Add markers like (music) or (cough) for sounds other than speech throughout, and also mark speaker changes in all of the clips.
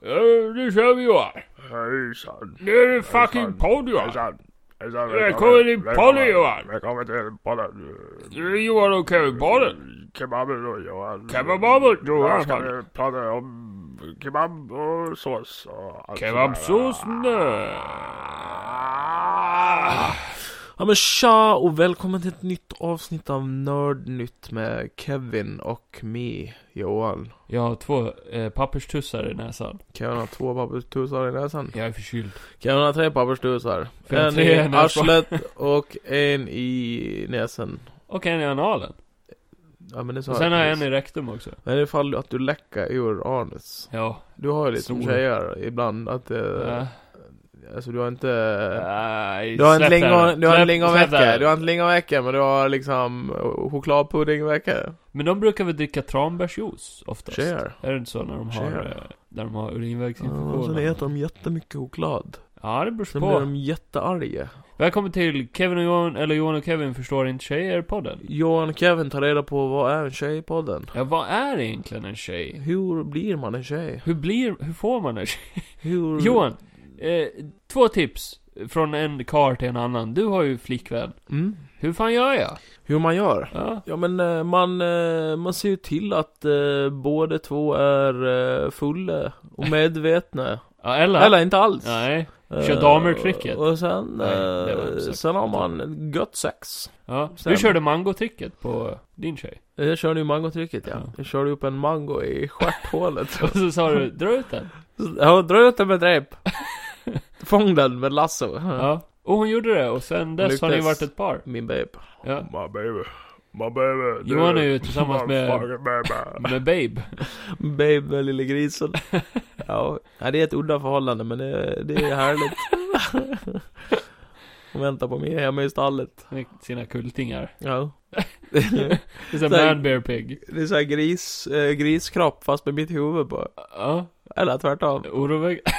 Speaker 1: Ja, nu kör vi Johan.
Speaker 2: Hejsan.
Speaker 1: Nu är det fucking podd Johan.
Speaker 2: Hejsan. Hejsan.
Speaker 1: Välkommen till podden Johan.
Speaker 2: Välkommen till podden.
Speaker 1: Nu är det Johan och Kevin-podden.
Speaker 2: Kebaben och Johan.
Speaker 1: Kebababen
Speaker 2: Här
Speaker 1: Johan.
Speaker 2: ska
Speaker 1: fan.
Speaker 2: vi prata om um, kebab uh, och sås och allt
Speaker 1: Kebabsås nu.
Speaker 2: Ah,
Speaker 1: Ah.
Speaker 3: Ja men tja och välkommen till ett nytt avsnitt av Nördnytt med Kevin och mig, Johan.
Speaker 4: Jag har två eh, papperstussar i näsan.
Speaker 3: Kevin har två papperstusar i näsan.
Speaker 4: Jag är förkyld.
Speaker 3: Kevin har tre papperstusar.
Speaker 4: För jag har
Speaker 3: En
Speaker 4: tre
Speaker 3: i
Speaker 4: i näsan.
Speaker 3: arslet och en i näsan.
Speaker 4: Och en i analen.
Speaker 3: Ja men det sa
Speaker 4: Och sen har jag en
Speaker 3: precis.
Speaker 4: i rektum också.
Speaker 3: Men ifall att du läcker ur anus.
Speaker 4: Ja.
Speaker 3: Du har ju lite som
Speaker 4: Stor.
Speaker 3: tjejer ibland att det...
Speaker 4: Äh,
Speaker 3: Alltså du har inte...
Speaker 4: nej,
Speaker 3: Du har inte
Speaker 4: släpp det här.
Speaker 3: lingon, du
Speaker 4: Släpp-
Speaker 3: har en
Speaker 4: släpp det
Speaker 3: lingonvecka,
Speaker 4: här.
Speaker 3: du har inte lingonvecka men du har liksom chokladpuddingvecka.
Speaker 4: Men de brukar väl dricka tranbärsjuice oftast?
Speaker 3: Tjejer.
Speaker 4: Är det inte så när de har,
Speaker 3: Tjejer.
Speaker 4: eh, när de har
Speaker 3: Ja, sen
Speaker 4: urinvägsinfektioner?
Speaker 3: äter de jättemycket choklad.
Speaker 4: ja, det beror
Speaker 3: Sen blir
Speaker 4: på.
Speaker 3: de jättearga.
Speaker 4: Välkommen till Kevin och Johan, eller Johan och Kevin förstår inte tjejer-podden.
Speaker 3: Johan och Kevin tar reda på vad är en tjej i podden.
Speaker 4: Ja, vad är egentligen en tjej?
Speaker 3: Hur blir man en tjej?
Speaker 4: Hur blir, hur får man en tjej?
Speaker 3: Hur...
Speaker 4: Johan, eh, två tips. Från en karl till en annan. Du har ju flickvän.
Speaker 3: Mm.
Speaker 4: Hur fan gör jag?
Speaker 3: Hur man gör?
Speaker 4: Ja.
Speaker 3: Ja men eh, man, eh, man ser ju till att eh, båda två är eh, fulla
Speaker 4: (laughs)
Speaker 3: och medvetna.
Speaker 4: Ja, eller?
Speaker 3: Eller inte alls.
Speaker 4: Nej.
Speaker 3: Eh,
Speaker 4: kör damertricket.
Speaker 3: Och sen,
Speaker 4: Nej, det var
Speaker 3: eh,
Speaker 4: säkert.
Speaker 3: sen har man gött sex.
Speaker 4: Ja.
Speaker 3: Stämmer.
Speaker 4: Du körde mangotricket på din tjej.
Speaker 3: Jag körde ju mangotricket ja.
Speaker 4: Ja.
Speaker 3: Jag körde upp en mango i stjärthålet.
Speaker 4: Och så sa du, dra ut den.
Speaker 3: Ja, dra ut den med (laughs) drep. Fång den med lasso.
Speaker 4: Ja. Och hon gjorde det och sen dess har ni
Speaker 3: Lyckades.
Speaker 4: varit ett par.
Speaker 3: Min babe.
Speaker 4: Ja.
Speaker 2: My baby. My baby.
Speaker 4: Johan är ju tillsammans med-
Speaker 2: Motherfucking baby.
Speaker 4: Med Babe.
Speaker 3: Babe med lille grisen. (laughs) ja, nej, det är ett udda förhållande men det, det är (laughs) härligt. Hon väntar på mig hemma i stallet.
Speaker 4: Med sina kultingar.
Speaker 3: Ja.
Speaker 4: Det är en
Speaker 3: Tack.
Speaker 4: man bear pig.
Speaker 3: det är så här gris, eh, griskropp fast med mitt huvud på.
Speaker 4: Ja.
Speaker 3: Eller tvärtom.
Speaker 4: Oroväckande. (laughs)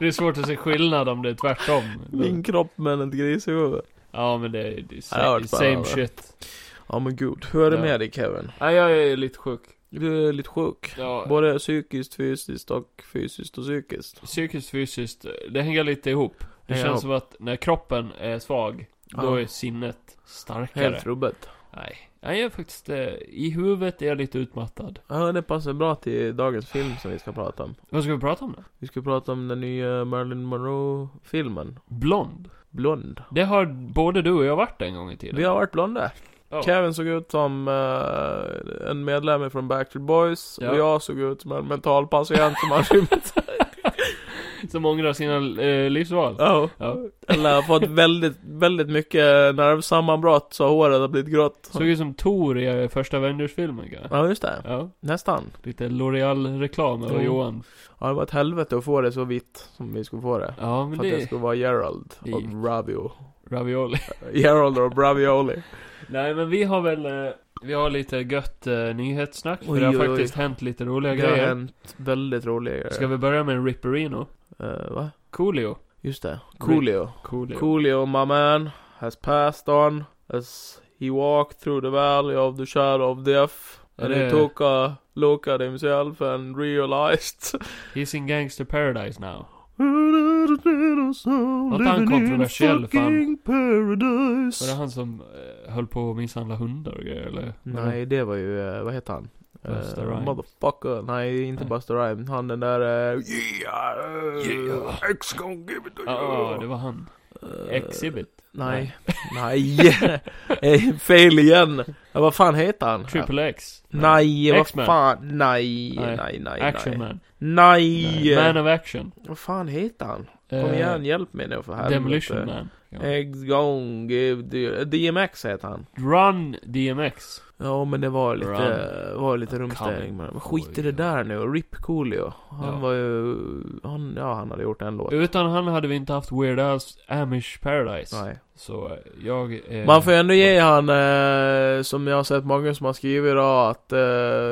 Speaker 4: Det är svårt att se skillnad om det är tvärtom.
Speaker 3: Min kropp men ett grishuvud.
Speaker 4: Ja men det är, det är
Speaker 3: Ja, det
Speaker 4: sa-
Speaker 3: var
Speaker 4: same
Speaker 3: bara-
Speaker 4: shit.
Speaker 3: Ja men gud, hur är det
Speaker 4: Ja.
Speaker 3: med dig Kevin?
Speaker 4: Ja, jag är lite sjuk.
Speaker 3: Du är lite sjuk.
Speaker 4: Ja.
Speaker 3: Både psykiskt, fysiskt och fysiskt och psykiskt.
Speaker 4: Psykiskt, fysiskt, det hänger lite ihop. Det
Speaker 3: Hänger
Speaker 4: känns
Speaker 3: ihop.
Speaker 4: som att när kroppen är svag, då
Speaker 3: Ja.
Speaker 4: är sinnet starkare.
Speaker 3: Helt rubbet.
Speaker 4: Nej, jag är faktiskt, eh, i huvudet är jag lite utmattad.
Speaker 3: Ja, det passar bra till dagens film som vi ska prata om.
Speaker 4: Vad ska vi prata om då?
Speaker 3: Vi ska prata om den nya Marilyn Monroe-filmen.
Speaker 4: Blond.
Speaker 3: Blond.
Speaker 4: Det har både du och jag varit en gång i tiden.
Speaker 3: Vi har varit blonda.
Speaker 4: Ja.
Speaker 3: Kevin såg ut som eh, en medlem från Backstreet Boys.
Speaker 4: Ja.
Speaker 3: Och jag såg ut som en mentalpatient som har rymt.
Speaker 4: Som ångrar sina eh, livsval.
Speaker 3: Ja.
Speaker 4: (laughs) Ja.
Speaker 3: Eller har fått väldigt, väldigt mycket nervsammanbrott så håret har blivit grått.
Speaker 4: Såg ut som Thor i eh, första Avengers-filmen kanske.
Speaker 3: Ja, just det.
Speaker 4: Ja.
Speaker 3: Nästan.
Speaker 4: Lite L'Oreal-reklam över
Speaker 3: Jo.
Speaker 4: Johan.
Speaker 3: Ja, det var ett helvete att få det så vitt som vi skulle få det.
Speaker 4: Ja, men
Speaker 3: För att det
Speaker 4: det...
Speaker 3: skulle vara Gerald
Speaker 4: det gick.
Speaker 3: och Ravio.
Speaker 4: Ravioli.
Speaker 3: Gerald och Ravioli.
Speaker 4: (laughs) Nej, men vi har väl... Eh, vi har lite gött eh, nyhetssnack. För
Speaker 3: Oj,
Speaker 4: det har
Speaker 3: oj, oj.
Speaker 4: faktiskt hänt eh. lite roliga
Speaker 3: Det har
Speaker 4: grejer.
Speaker 3: hänt väldigt roliga grejer.
Speaker 4: Ska vi börja med en Ripperino?
Speaker 3: Eh, va?
Speaker 4: Coolio.
Speaker 3: Just det. Coolio.
Speaker 4: Coolio.
Speaker 3: Coolio, my man, has passed on as he walked through the valley of the shadow of death. And
Speaker 4: Är
Speaker 3: he
Speaker 4: det-
Speaker 3: took a look at himself and realized...
Speaker 4: He's in Gangster Paradise now.
Speaker 3: Något
Speaker 4: kontroversiell, fan. Var det
Speaker 3: Paradise.
Speaker 4: han som eh, höll på att misshandla hundar och grejer eller?
Speaker 3: Nej, det var ju, eh, vad heter han?
Speaker 4: Busta
Speaker 3: Eh,
Speaker 4: Rhymes.
Speaker 3: motherfucker, nej inte
Speaker 4: Nej.
Speaker 3: Buster Rhymes, han den där... eh,
Speaker 4: (laughs)
Speaker 3: yeah!
Speaker 4: Yeah.
Speaker 3: X gon' give it to
Speaker 4: Ja,
Speaker 3: you!
Speaker 4: det var han.
Speaker 3: Eh,
Speaker 4: Exhibit.
Speaker 3: Nej. Nej. (laughs) Eh, Fel igen. Ja, vad fan heter han?
Speaker 4: Triple X.
Speaker 3: Nej, vad
Speaker 4: X-Man.
Speaker 3: fan. Nej,
Speaker 4: Nej.
Speaker 3: nej, nej, nej.
Speaker 4: Action Man.
Speaker 3: Nej.
Speaker 4: Man of Action.
Speaker 3: Vad fan heter han?
Speaker 4: Eh,
Speaker 3: Kom igen, hjälp mig nu för helvete.
Speaker 4: Demolition Man. Ja.
Speaker 3: Eggs gone, give the... DMX heter han.
Speaker 4: Run DMX.
Speaker 3: Ja men det var lite,
Speaker 4: Run.
Speaker 3: var lite rumstädning med det. Men skit i det
Speaker 4: Oj, ja.
Speaker 3: där nu, RIP Coolio. Han
Speaker 4: Ja.
Speaker 3: var ju, han, ja han hade gjort en låt.
Speaker 4: Utan han hade vi inte haft Weird Al's Amish Paradise.
Speaker 3: Nej.
Speaker 4: Så eh, jag... Eh,
Speaker 3: Man får ändå ge han, eh, som jag har sett många som har skrivit idag, att eh,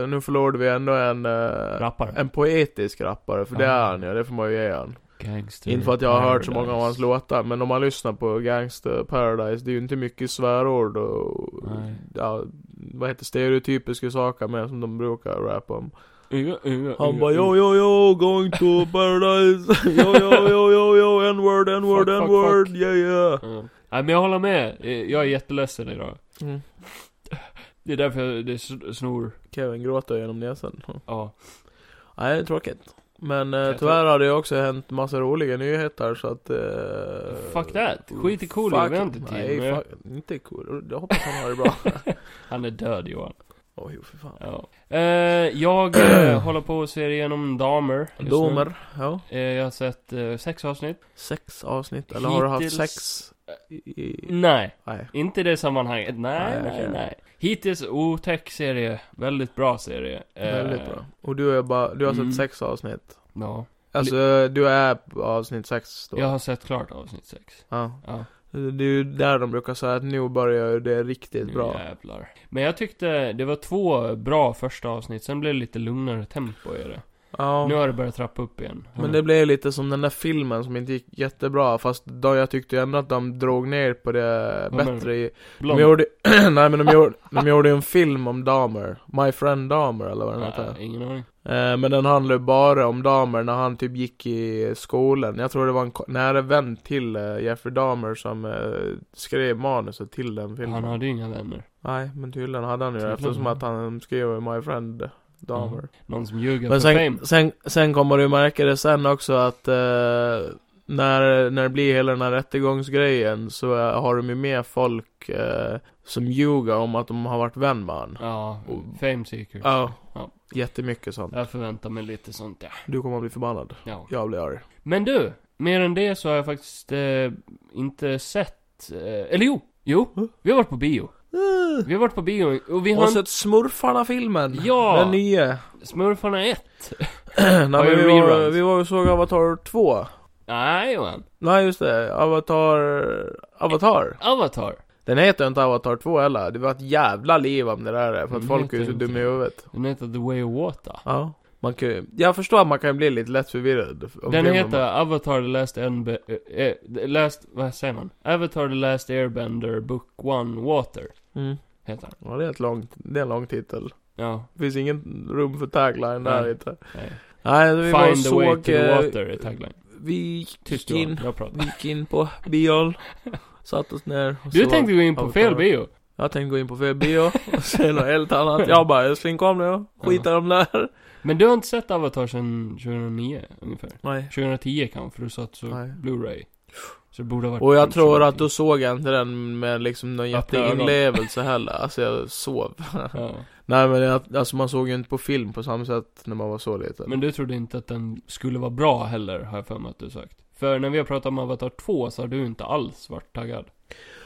Speaker 3: nu förlorade vi ändå en, eh,
Speaker 4: Rappare.
Speaker 3: en poetisk rappare, för det
Speaker 4: Ja.
Speaker 3: är han ja, det får man ju ge han.
Speaker 4: Gangster.
Speaker 3: Inte för att jag har hört så
Speaker 4: Paradise.
Speaker 3: många av hans låtar, men om man lyssnar på Gangster Paradise, det är ju inte mycket svärord och...
Speaker 4: Nej.
Speaker 3: Ja, vad heter stereotypiska saker med som de brukar rappa om. Mm.
Speaker 4: Inga- inga-
Speaker 3: Han
Speaker 4: inga-
Speaker 3: bara
Speaker 4: inga-
Speaker 3: yo yo yo, going to paradise. (laughs) yo yo yo yo yo, n-word, n-word,
Speaker 4: Fuck, fuck,
Speaker 3: n-word, yeah yeah.
Speaker 4: Ja. Nej men jag håller med. Eh, Jag är jätteledsen idag.
Speaker 3: Mm.
Speaker 4: Det är därför jag- det sn- snor.
Speaker 3: Kevin gråter genom näsan.
Speaker 4: Ja.
Speaker 3: Nej, det är tråkigt. Men eh,
Speaker 4: Jag
Speaker 3: tyvärr har det också hänt massa roliga nyheter så att... Eh,
Speaker 4: Fuck that. Skit i Coolio,
Speaker 3: fuck-
Speaker 4: vi har inte tid
Speaker 3: Nej,
Speaker 4: med-
Speaker 3: fuck, inte cool. Jag hoppas han har det
Speaker 4: (laughs)
Speaker 3: bra.
Speaker 4: Han är död Johan.
Speaker 3: Oj, för fan.
Speaker 4: Ja. Eh, jag
Speaker 3: (clears throat)
Speaker 4: eh, håller på att se igenom Dahmer. just nu.
Speaker 3: Domer, ja.
Speaker 4: Eh, jag har sett eh, sex avsnitt.
Speaker 3: Sex avsnitt, eller har du haft
Speaker 4: Hittills- Mm.
Speaker 3: sex? I, i,
Speaker 4: Nej.
Speaker 3: nej.
Speaker 4: Inte i det sammanhanget. Nej,
Speaker 3: Nej,
Speaker 4: nej,
Speaker 3: okej.
Speaker 4: nej. Hittills otäck serie. Väldigt bra serie. Eh,
Speaker 3: Väldigt bra. Och du, är bara, du har sett
Speaker 4: mm.
Speaker 3: sex avsnitt?
Speaker 4: Ja.
Speaker 3: Alltså, du är på avsnitt sex då?
Speaker 4: Jag har sett klart avsnitt sex.
Speaker 3: Ja.
Speaker 4: Ja,
Speaker 3: Det är ju där de brukar säga att nu börjar ju det riktigt
Speaker 4: nu
Speaker 3: bra.
Speaker 4: jävlar. Men jag tyckte det var två bra första avsnitt, sen blev det lite lugnare tempo i det.
Speaker 3: Ja.
Speaker 4: Nu har det börjat trappa upp igen.
Speaker 3: Men det blev lite som den där filmen som inte gick jättebra, fast då jag tyckte ändå att de drog ner på det
Speaker 4: Vad menar
Speaker 3: bättre i...
Speaker 4: Blond.
Speaker 3: De gjorde, (clears throat) nej men de gjorde, de gjorde en film om damer, My Friend Damer eller vad den
Speaker 4: Nej,
Speaker 3: heter.
Speaker 4: ingen aning.
Speaker 3: Eh, men den handlar ju bara om damer när han typ gick i skolan. Jag tror det var en ko- nära vän till eh, Jeffrey Dahmer som eh, skrev manuset till den filmen.
Speaker 4: Han hade ju inga vänner.
Speaker 3: Nej, men tydligen hade han ju det,
Speaker 4: Tydligen.
Speaker 3: eftersom att han skrev My Friend Dahmer.
Speaker 4: Någon som ljuger
Speaker 3: Men
Speaker 4: för fame.
Speaker 3: sen, sen, sen kommer du märka det sen också att eh, när, när det blir hela den här rättegångsgrejen så eh, har de ju med folk eh, som ljuger om att de har varit vän med han.
Speaker 4: Ja,
Speaker 3: Och-
Speaker 4: fame seekers.
Speaker 3: Ja.
Speaker 4: Ja.
Speaker 3: Jättemycket sånt.
Speaker 4: Jag förväntar mig lite sånt ja.
Speaker 3: Du kommer att bli förbannad.
Speaker 4: ja.
Speaker 3: Jag blir arg.
Speaker 4: Men du, mer än det så har jag faktiskt eh, inte sett... Eh, eller jo! Jo! Vi har varit på bio. Vi har varit på bio och vi har...
Speaker 3: Och
Speaker 4: inte-
Speaker 3: sett Smurfarna-filmen.
Speaker 4: Ja!
Speaker 3: Den nya. (clears throat)
Speaker 4: Smurfarna 1.
Speaker 3: Nej, men
Speaker 4: Har ju
Speaker 3: vi, var,
Speaker 4: reruns.
Speaker 3: vi var och såg Avatar 2.
Speaker 4: Nej Johan.
Speaker 3: Nej just det, Avatar... Avatar.
Speaker 4: Avatar.
Speaker 3: Den heter inte Avatar 2 heller. Det var ett jävla liv om det där för att
Speaker 4: Den
Speaker 3: folk är ju
Speaker 4: heter Mm,
Speaker 3: så
Speaker 4: inte
Speaker 3: dumma i
Speaker 4: det.
Speaker 3: huvudet.
Speaker 4: Den heter The Way of Water.
Speaker 3: Ja. Man kan, ju- jag förstår att man kan bli lite lätt förvirrad.
Speaker 4: Den
Speaker 3: om filmen.
Speaker 4: heter Avatar The Last End... eh, the last... Vad säger man? Avatar The Last Airbender Book One Water.
Speaker 3: Mm.
Speaker 4: Heter den.
Speaker 3: Ja, det är, ett långt, det är en lång titel.
Speaker 4: Ja.
Speaker 3: Det finns ingen rum för tagline där
Speaker 4: Nej.
Speaker 3: inte.
Speaker 4: Nej.
Speaker 3: Nej, vi var och
Speaker 4: Find the way to
Speaker 3: såg...
Speaker 4: the
Speaker 3: eh,
Speaker 4: water är tagline.
Speaker 3: Vi gick
Speaker 4: Tyst Johan,
Speaker 3: in,
Speaker 4: jag pratar.
Speaker 3: vi gick in på bion. Satt oss ner. och
Speaker 4: Du
Speaker 3: såg
Speaker 4: tänkte gå in på
Speaker 3: Avatar.
Speaker 4: fel bio.
Speaker 3: Jag tänkte gå in på fel bio och se något
Speaker 4: (laughs)
Speaker 3: helt annat. Jag bara, älskling kom nu. Skit i de där.
Speaker 4: Men du har inte sett Avatar sedan 2009 ungefär?
Speaker 3: Nej.
Speaker 4: 2010 kanske, för du sa att du såg
Speaker 3: Nej.
Speaker 4: Blu-ray. Så det borde ha varit...
Speaker 3: Och jag tror att du såg jag inte den med liksom någon
Speaker 4: Öppna
Speaker 3: jätteinlevelse heller. Alltså jag sov.
Speaker 4: Ja.
Speaker 3: Nej men jag, alltså man såg ju inte på film på samma sätt när man var så liten.
Speaker 4: Men du trodde inte att den skulle vara bra heller, har jag för mig att du sagt. För när vi har pratat om Avatar 2 så har du inte alls varit taggad.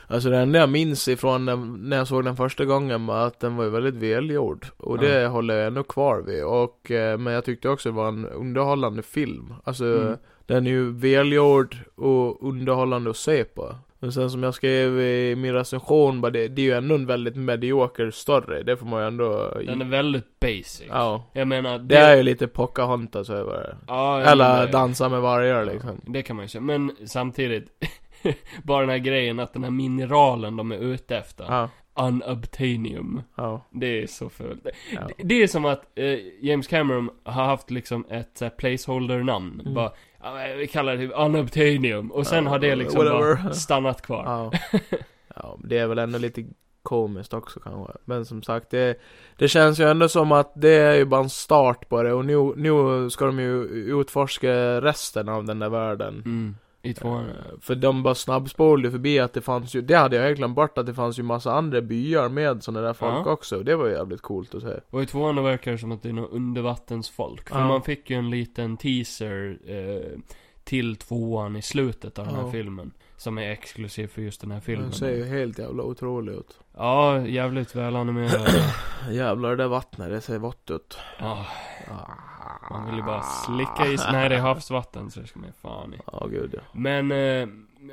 Speaker 3: Alltså det enda jag minns ifrån den, när jag såg den första gången var att den var ju väldigt välgjord. Och
Speaker 4: Ja.
Speaker 3: det håller jag ändå kvar vid. Och, eh, men jag tyckte också det var en underhållande film. Alltså
Speaker 4: Mm.
Speaker 3: den är ju välgjord och underhållande att se på. Men sen som jag skrev i min recension, bara det, det är ju ändå en väldigt medioker story. Det får man ju ändå...
Speaker 4: Den är väldigt basic.
Speaker 3: Ja.
Speaker 4: Jag menar, det...
Speaker 3: Det är ju lite Pocahontas över det.
Speaker 4: Ja, jag menar
Speaker 3: Eller
Speaker 4: det.
Speaker 3: Dansa med vargar liksom.
Speaker 4: Ja, Det kan man ju säga. Men samtidigt, (laughs) bara den här grejen att den här mineralen de är ute efter,
Speaker 3: Ja.
Speaker 4: unobtainium,
Speaker 3: Ja.
Speaker 4: det är så fult.
Speaker 3: ja.
Speaker 4: Det- Det är som att eh, James Cameron har haft liksom ett så här, placeholder-namn.
Speaker 3: Mm.
Speaker 4: Bara, ja, men vi kallar det typ unobtainium. Och sen
Speaker 3: Ja,
Speaker 4: har det liksom
Speaker 3: whatever.
Speaker 4: bara stannat kvar.
Speaker 3: Ja. ja, det är väl ändå lite komiskt också kanske. Men som sagt, det, det känns ju ändå som att det är ju bara en start på det. Och nu, nu ska de ju utforska resten av den där världen.
Speaker 4: Mm, i tvåan.
Speaker 3: Eh, För de bara snabbspolade ju förbi att det fanns ju, det hade jag egentligen bort att det fanns ju massa andra byar med sådana där folk
Speaker 4: Ja.
Speaker 3: också. Det var ju jävligt coolt att se.
Speaker 4: Och i tvåan då verkar det som att det är något undervattensfolk. För
Speaker 3: Ja.
Speaker 4: man fick ju en liten teaser eh, till tvåan i slutet av den här
Speaker 3: Ja.
Speaker 4: filmen. Som är exklusiv för just den här
Speaker 3: Den ser ju
Speaker 4: filmen.
Speaker 3: helt jävla otrolig ut.
Speaker 4: Ja, jävligt välanimerad.
Speaker 3: (coughs) Jävlar det där vattnet, det ser vått ut.
Speaker 4: Ja,
Speaker 3: Ah.
Speaker 4: man vill ju bara slicka i sig. Nej, det är havsvatten så det ska man ju fan i.
Speaker 3: Ja, gud ja.
Speaker 4: Men eh,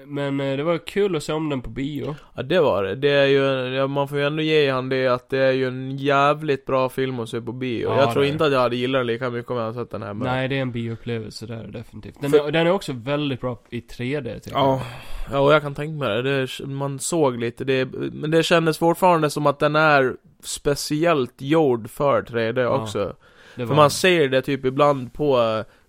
Speaker 4: Men eh, det var kul att se om den på bio.
Speaker 3: Ja det var det. Det är ju, ja, man får ju ändå ge han det att det är ju en jävligt bra film att se på bio.
Speaker 4: Ja,
Speaker 3: jag tror
Speaker 4: det är
Speaker 3: inte att jag hade gillat den lika mycket om jag hade sett den här men...
Speaker 4: Nej, det är en bioupplevelse där definitivt. Den,
Speaker 3: För-
Speaker 4: är, den är också väldigt bra i 3D tycker
Speaker 3: Ja, ja och jag kan tänka mig det. det. Man såg lite det, men det kändes fortfarande som att den är speciellt gjord för 3D
Speaker 4: Ja,
Speaker 3: också.
Speaker 4: jag. Det
Speaker 3: För
Speaker 4: var,
Speaker 3: man ser det typ ibland på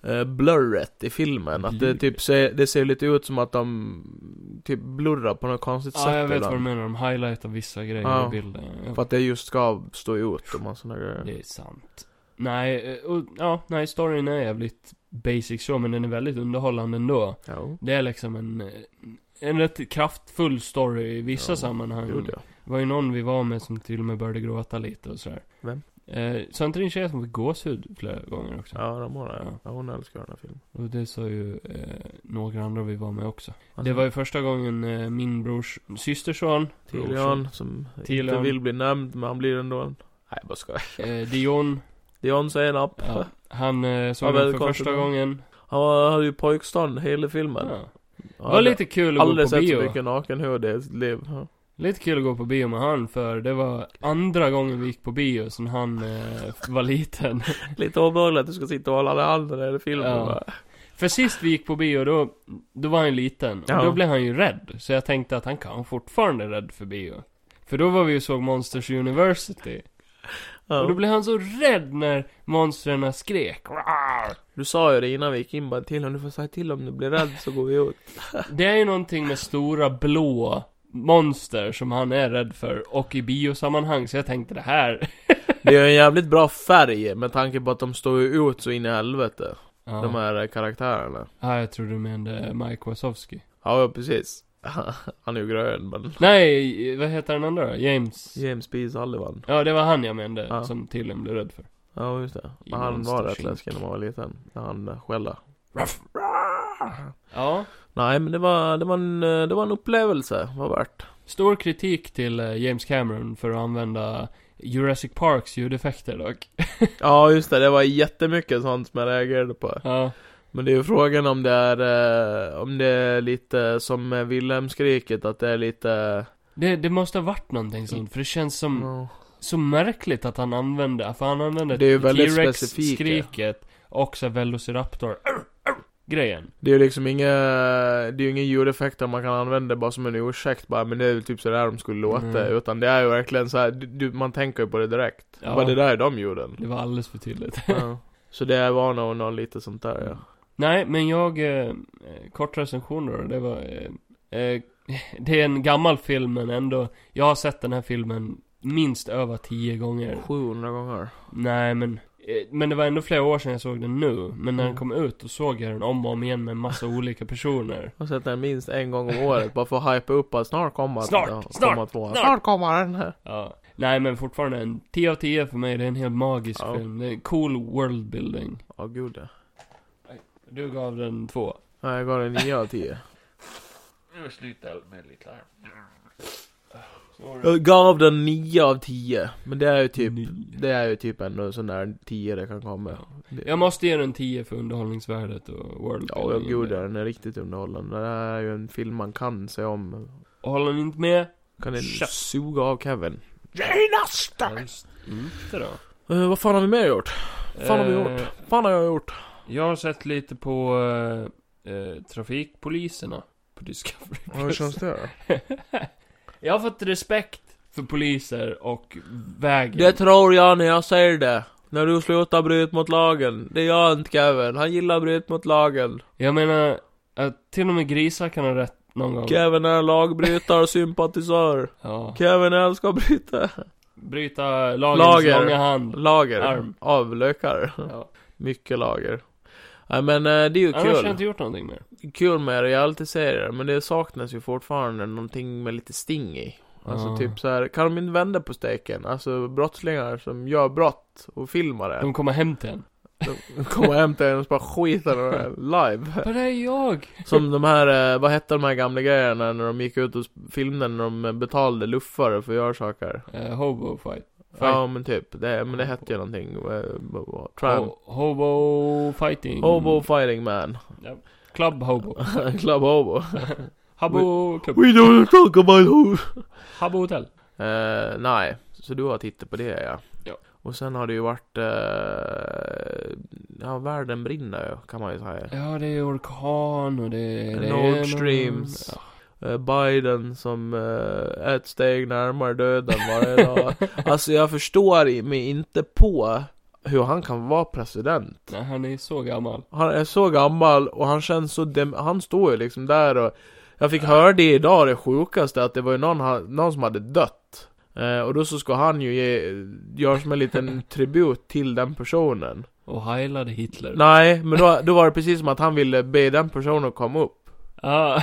Speaker 3: uh, blurret i filmen, att det typ ser, det ser lite ut som att de typ blurrar på något konstigt
Speaker 4: Ja,
Speaker 3: sätt
Speaker 4: jag vet vad
Speaker 3: ibland.
Speaker 4: du menar. De highlightar vissa grejer
Speaker 3: Ja.
Speaker 4: i bilden. Ja,
Speaker 3: För att det just ska stå ut och massa sådana grejer.
Speaker 4: Det är sant. Nej, eh, och, ja, nej, storyn är jävligt basic så, men den är väldigt underhållande ändå.
Speaker 3: Ja,
Speaker 4: Det är liksom en, eh, en rätt kraftfull story i vissa
Speaker 3: Ja,
Speaker 4: sammanhang.
Speaker 3: gjorde jag.
Speaker 4: Det var ju någon vi var med som till och med började gråta lite och sådär.
Speaker 3: Vem?
Speaker 4: Eh, samtidigt en tjej som fick gåshud flera gånger också.
Speaker 3: Ja, Ramona ja.
Speaker 4: Typ. Ja.
Speaker 3: ja. Hon älskar den här filmen.
Speaker 4: Och det sa ju eh, några andra vi var med också.
Speaker 3: Alltså,
Speaker 4: Det var ju första gången eh, min brors systerson,
Speaker 3: Tilion som inte
Speaker 4: Tilion.
Speaker 3: vill bli nämnd, men han blir ändå en... Nej, jag bara skojar.
Speaker 4: eh, Dion,
Speaker 3: Dion säger en app.
Speaker 4: ja, han eh,
Speaker 3: Ja,
Speaker 4: såg den
Speaker 3: väldigt
Speaker 4: för första
Speaker 3: konstigt.
Speaker 4: gången.
Speaker 3: Han var- hade ju pojkstånd hela
Speaker 4: Ja.
Speaker 3: filmen.
Speaker 4: Det
Speaker 3: Ja,
Speaker 4: var lite kul att gå
Speaker 3: Aldrig
Speaker 4: på
Speaker 3: sett så
Speaker 4: bio.
Speaker 3: mycket nakenhud i sitt liv. Ja.
Speaker 4: Lite kul att gå på bio med han för det var andra gången vi gick på bio sen han eh, var
Speaker 3: (laughs)
Speaker 4: liten.
Speaker 3: Lite obehagligt att du ska sitta och hålla dig i handen i hela filmen.
Speaker 4: Ja.
Speaker 3: va?
Speaker 4: För sist vi gick på bio då, då var han ju liten.
Speaker 3: Ja.
Speaker 4: Och då blev han ju rädd. Så jag tänkte att han kan fortfarande är rädd för bio. För då var vi och såg Monsters University.
Speaker 3: Ja.
Speaker 4: Och då blev han så rädd när monstren skrek. Rar!
Speaker 3: Du sa ju det innan vi gick in bara till honom, du får säga till om du blir rädd så går vi ut.
Speaker 4: Det är ju någonting med stora blå monster som han är rädd för. Och i biosammanhang, så jag tänkte det här.
Speaker 3: Det är ju en jävligt bra färg med tanke på att de står ju ut så in i helvete.
Speaker 4: Ja,
Speaker 3: De här eh, karaktärerna.
Speaker 4: ja jag tror du menade Mike Wazowski.
Speaker 3: Ja, ja, precis. (laughs) Han är ju grön men...
Speaker 4: Nej, vad heter den andra då? James?
Speaker 3: James B. Sullivan.
Speaker 4: Ja, det var han jag menade
Speaker 3: Ja.
Speaker 4: som tydligen blev rädd för.
Speaker 3: Ja, just det.
Speaker 4: I
Speaker 3: Men han var
Speaker 4: Monsters
Speaker 3: rätt
Speaker 4: Inc.
Speaker 3: läskig när man var liten. När han eh, skällde.
Speaker 4: Ja.
Speaker 3: Nej, men det var, det var, en, eh, det var en upplevelse. Vad värt.
Speaker 4: Stor kritik till eh, James Cameron för att använda Jurassic Parks ljudeffekter dock.
Speaker 3: Ja, just det. Det var jättemycket sånt som jag reagerade på.
Speaker 4: Ja,
Speaker 3: Men det är ju frågan om det är, eh, om det är lite som med Wilhelmskriket, att det är lite...
Speaker 4: det, det måste ha varit någonting sånt, för det känns som
Speaker 3: ja.
Speaker 4: så märkligt att han använde, för han använde
Speaker 3: Det är ju väldigt
Speaker 4: T-Rex
Speaker 3: specifika.
Speaker 4: skriket och så Velociraptor "Arr, arr", grejen.
Speaker 3: Det är ju liksom inga, det är ju inga ljudeffekter man kan använda bara som en ursäkt bara, men det är ju typ sådär de skulle låta.
Speaker 4: Mm.
Speaker 3: Utan det är ju verkligen såhär, du- du, man tänker ju på det direkt.
Speaker 4: Ja.
Speaker 3: Bara det där är de ljuden.
Speaker 4: Det var alldeles för tydligt.
Speaker 3: Ja. Så det var nog något lite sånt där ja.
Speaker 4: Nej, men jag, eh, eh, kort recension då, det var, eh, eh, (laughs) det är en gammal film men ändå, jag har sett den här filmen minst över tio gånger.
Speaker 3: 700 gånger.
Speaker 4: Nej men, eh, men det var ändå flera år sedan jag såg den nu. Men när
Speaker 3: Mm.
Speaker 4: den kom ut då såg jag den om och om igen med en massa olika personer.
Speaker 3: Jag har sett den minst en gång om året bara för att hypa upp att snart kommer
Speaker 4: Snart,
Speaker 3: ja,
Speaker 4: snart,
Speaker 3: komma tvåan.
Speaker 4: snart.
Speaker 3: snart kommer den här.
Speaker 4: Ja. Nej men fortfarande en 10 av 10 för mig. Det är en helt magisk
Speaker 3: Ja.
Speaker 4: film. Det är cool worldbuilding.
Speaker 3: Ja gud ja.
Speaker 4: Du gav den två.
Speaker 3: Nej, jag gav den 9 av 10.
Speaker 4: Nu slutar med lite här.
Speaker 3: Jag gav den 9 av 10. Men det är ju typ,
Speaker 4: Nio.
Speaker 3: det är ju typ ändå en sån där 10 det kan komma. Det-
Speaker 4: Jag måste ge den 10 för underhållningsvärdet och worldbuilding.
Speaker 3: Ja, jag gud den är riktigt underhållande. Det här är ju en film man kan se om.
Speaker 4: Och håller ni inte med?
Speaker 3: Kan ni
Speaker 4: Tja.
Speaker 3: suga av Kevin?
Speaker 4: Helst inte då.
Speaker 3: Eh, vad fan har vi mer gjort? Fan har vi
Speaker 4: Eh,
Speaker 3: gjort? fan har jag gjort?
Speaker 4: Jag har sett lite på eh, eh, trafikpoliserna på (laughs) Discovery
Speaker 3: Hur känns det? då?
Speaker 4: Jag har fått respekt för poliser och vägen.
Speaker 3: Det tror jag när jag säger det. När du slutar bryta mot lagen. Det gör inte Kevin. Han gillar bryta mot lagen.
Speaker 4: Jag menar, att till och med grisar kan ha rätt någon gång.
Speaker 3: Kevin är (laughs) lagbrytare och sympatisör.
Speaker 4: Ja.
Speaker 3: Kevin älskar att bryta.
Speaker 4: Bryta lagens
Speaker 3: Lager.
Speaker 4: långa hand.
Speaker 3: Lager.
Speaker 4: Arm.
Speaker 3: Av lökar.
Speaker 4: Ja.
Speaker 3: Mycket lager. Nej men eh, det är ju
Speaker 4: Annars har
Speaker 3: kul.
Speaker 4: jag inte gjort någonting mer.
Speaker 3: kul med reality-serier, men det saknas ju fortfarande någonting med lite sting i. Alltså
Speaker 4: Ja.
Speaker 3: typ så här, kan de inte vända på steken? Alltså brottslingar som gör brott och filmar det.
Speaker 4: De kommer hem till en.
Speaker 3: De kommer hem till en och bara skiter i det (laughs) live.
Speaker 4: Var är jag?
Speaker 3: Som de här, eh, vad hette de här gamla grejerna när de gick ut och sp- filmade när de eh, betalade luffare för att göra saker?
Speaker 4: (laughs) Eh, hobo fight. fight.
Speaker 3: Ja men typ, det, men det hette ju någonting. eh, vad var- Tramp.
Speaker 4: Ho- hobo fighting.
Speaker 3: Hobo fighting man. (laughs)
Speaker 4: Club hobo.
Speaker 3: Club hobo.
Speaker 4: Habbo Club.
Speaker 3: We don't talk about who.
Speaker 4: Habbo Hotel.
Speaker 3: Eh, nej, så du har tittat på det ja.
Speaker 4: Ja.
Speaker 3: Och sen har det ju varit... eh, ja, världen brinner ju, kan man ju säga.
Speaker 4: Ja, det är orkan och det är... det är
Speaker 3: typ. Nord
Speaker 4: någon-
Speaker 3: Streams.
Speaker 4: Ja.
Speaker 3: Eh, Biden som eh, är ett steg närmare döden varje dag. (laughs) Alltså jag förstår i- mig inte på hur han kan vara president.
Speaker 4: Nej, han är så gammal.
Speaker 3: Han är så gammal och han känns så dem- Han står ju liksom där och... Jag fick höra det idag, det sjukaste, att det var ju någon, ha- någon som hade dött. Eh, och då så ska han ju ge, göra som en liten tribut till den personen.
Speaker 4: Och heilade Hitler.
Speaker 3: Nej, men då, då var det precis som att han ville be den personen komma upp.
Speaker 4: Ah,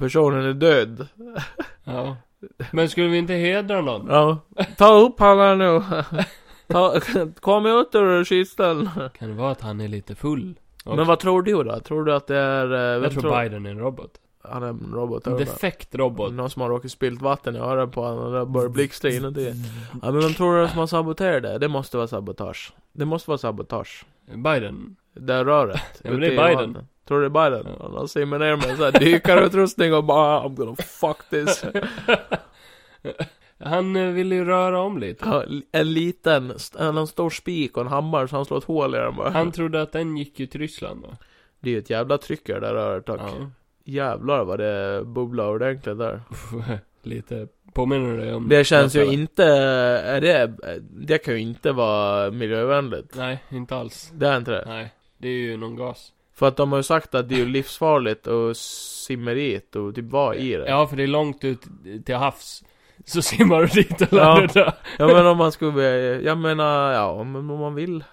Speaker 3: Personen är död.
Speaker 4: ja. Men skulle vi inte hedra någon?
Speaker 3: Ja. Ta upp han här nu. Ta, (laughs) kom ut ur kistan.
Speaker 4: Kan det vara att han är lite full?
Speaker 3: Men vad tror du då? Tror du att det är... eh, vem
Speaker 4: Jag tror Biden är en robot.
Speaker 3: Han är en robot.
Speaker 4: En
Speaker 3: eller?
Speaker 4: defekt robot.
Speaker 3: Någon som har råkat spilt vatten i öronen på honom och det börjar blixtra inuti. Ja men vem tror du som har saboterat det? Det måste vara sabotage. Det måste vara sabotage. (laughs)
Speaker 4: Biden.
Speaker 3: Det röret.
Speaker 4: (laughs) Ja, men det
Speaker 3: ute
Speaker 4: är
Speaker 3: i
Speaker 4: Biden.
Speaker 3: vattnet. Tror du det är Biden?
Speaker 4: Ja.
Speaker 3: Han simmar ner med en sån här dykarutrustning och bara "Ah, I'm gonna
Speaker 4: (laughs)
Speaker 3: fuck this.
Speaker 4: Han eh, ville ju röra om lite.
Speaker 3: Ja, En liten, st- en stor spik och en hammare så han slår ett hål i den bara.
Speaker 4: Han trodde att den gick ju till Ryssland va?
Speaker 3: Det är ju ett jävla tryck i det där röret dock.
Speaker 4: Ja.
Speaker 3: Jävlar vad det bubblar ordentligt där.
Speaker 4: Uff, lite, påminner det om...
Speaker 3: Det känns ju
Speaker 4: Eller?
Speaker 3: inte, är det, det kan ju inte vara miljövänligt.
Speaker 4: Nej, inte alls.
Speaker 3: Det är inte det.
Speaker 4: Nej. Det är ju någon gas.
Speaker 3: För att de har ju sagt att det är ju livsfarligt att simma dit och typ vara i det.
Speaker 4: Ja, för det är långt ut till havs. Så simmar du dit och
Speaker 3: Ja.
Speaker 4: landar där.
Speaker 3: Ja, men om man skulle, bli- jag menar, ja om, om man vill.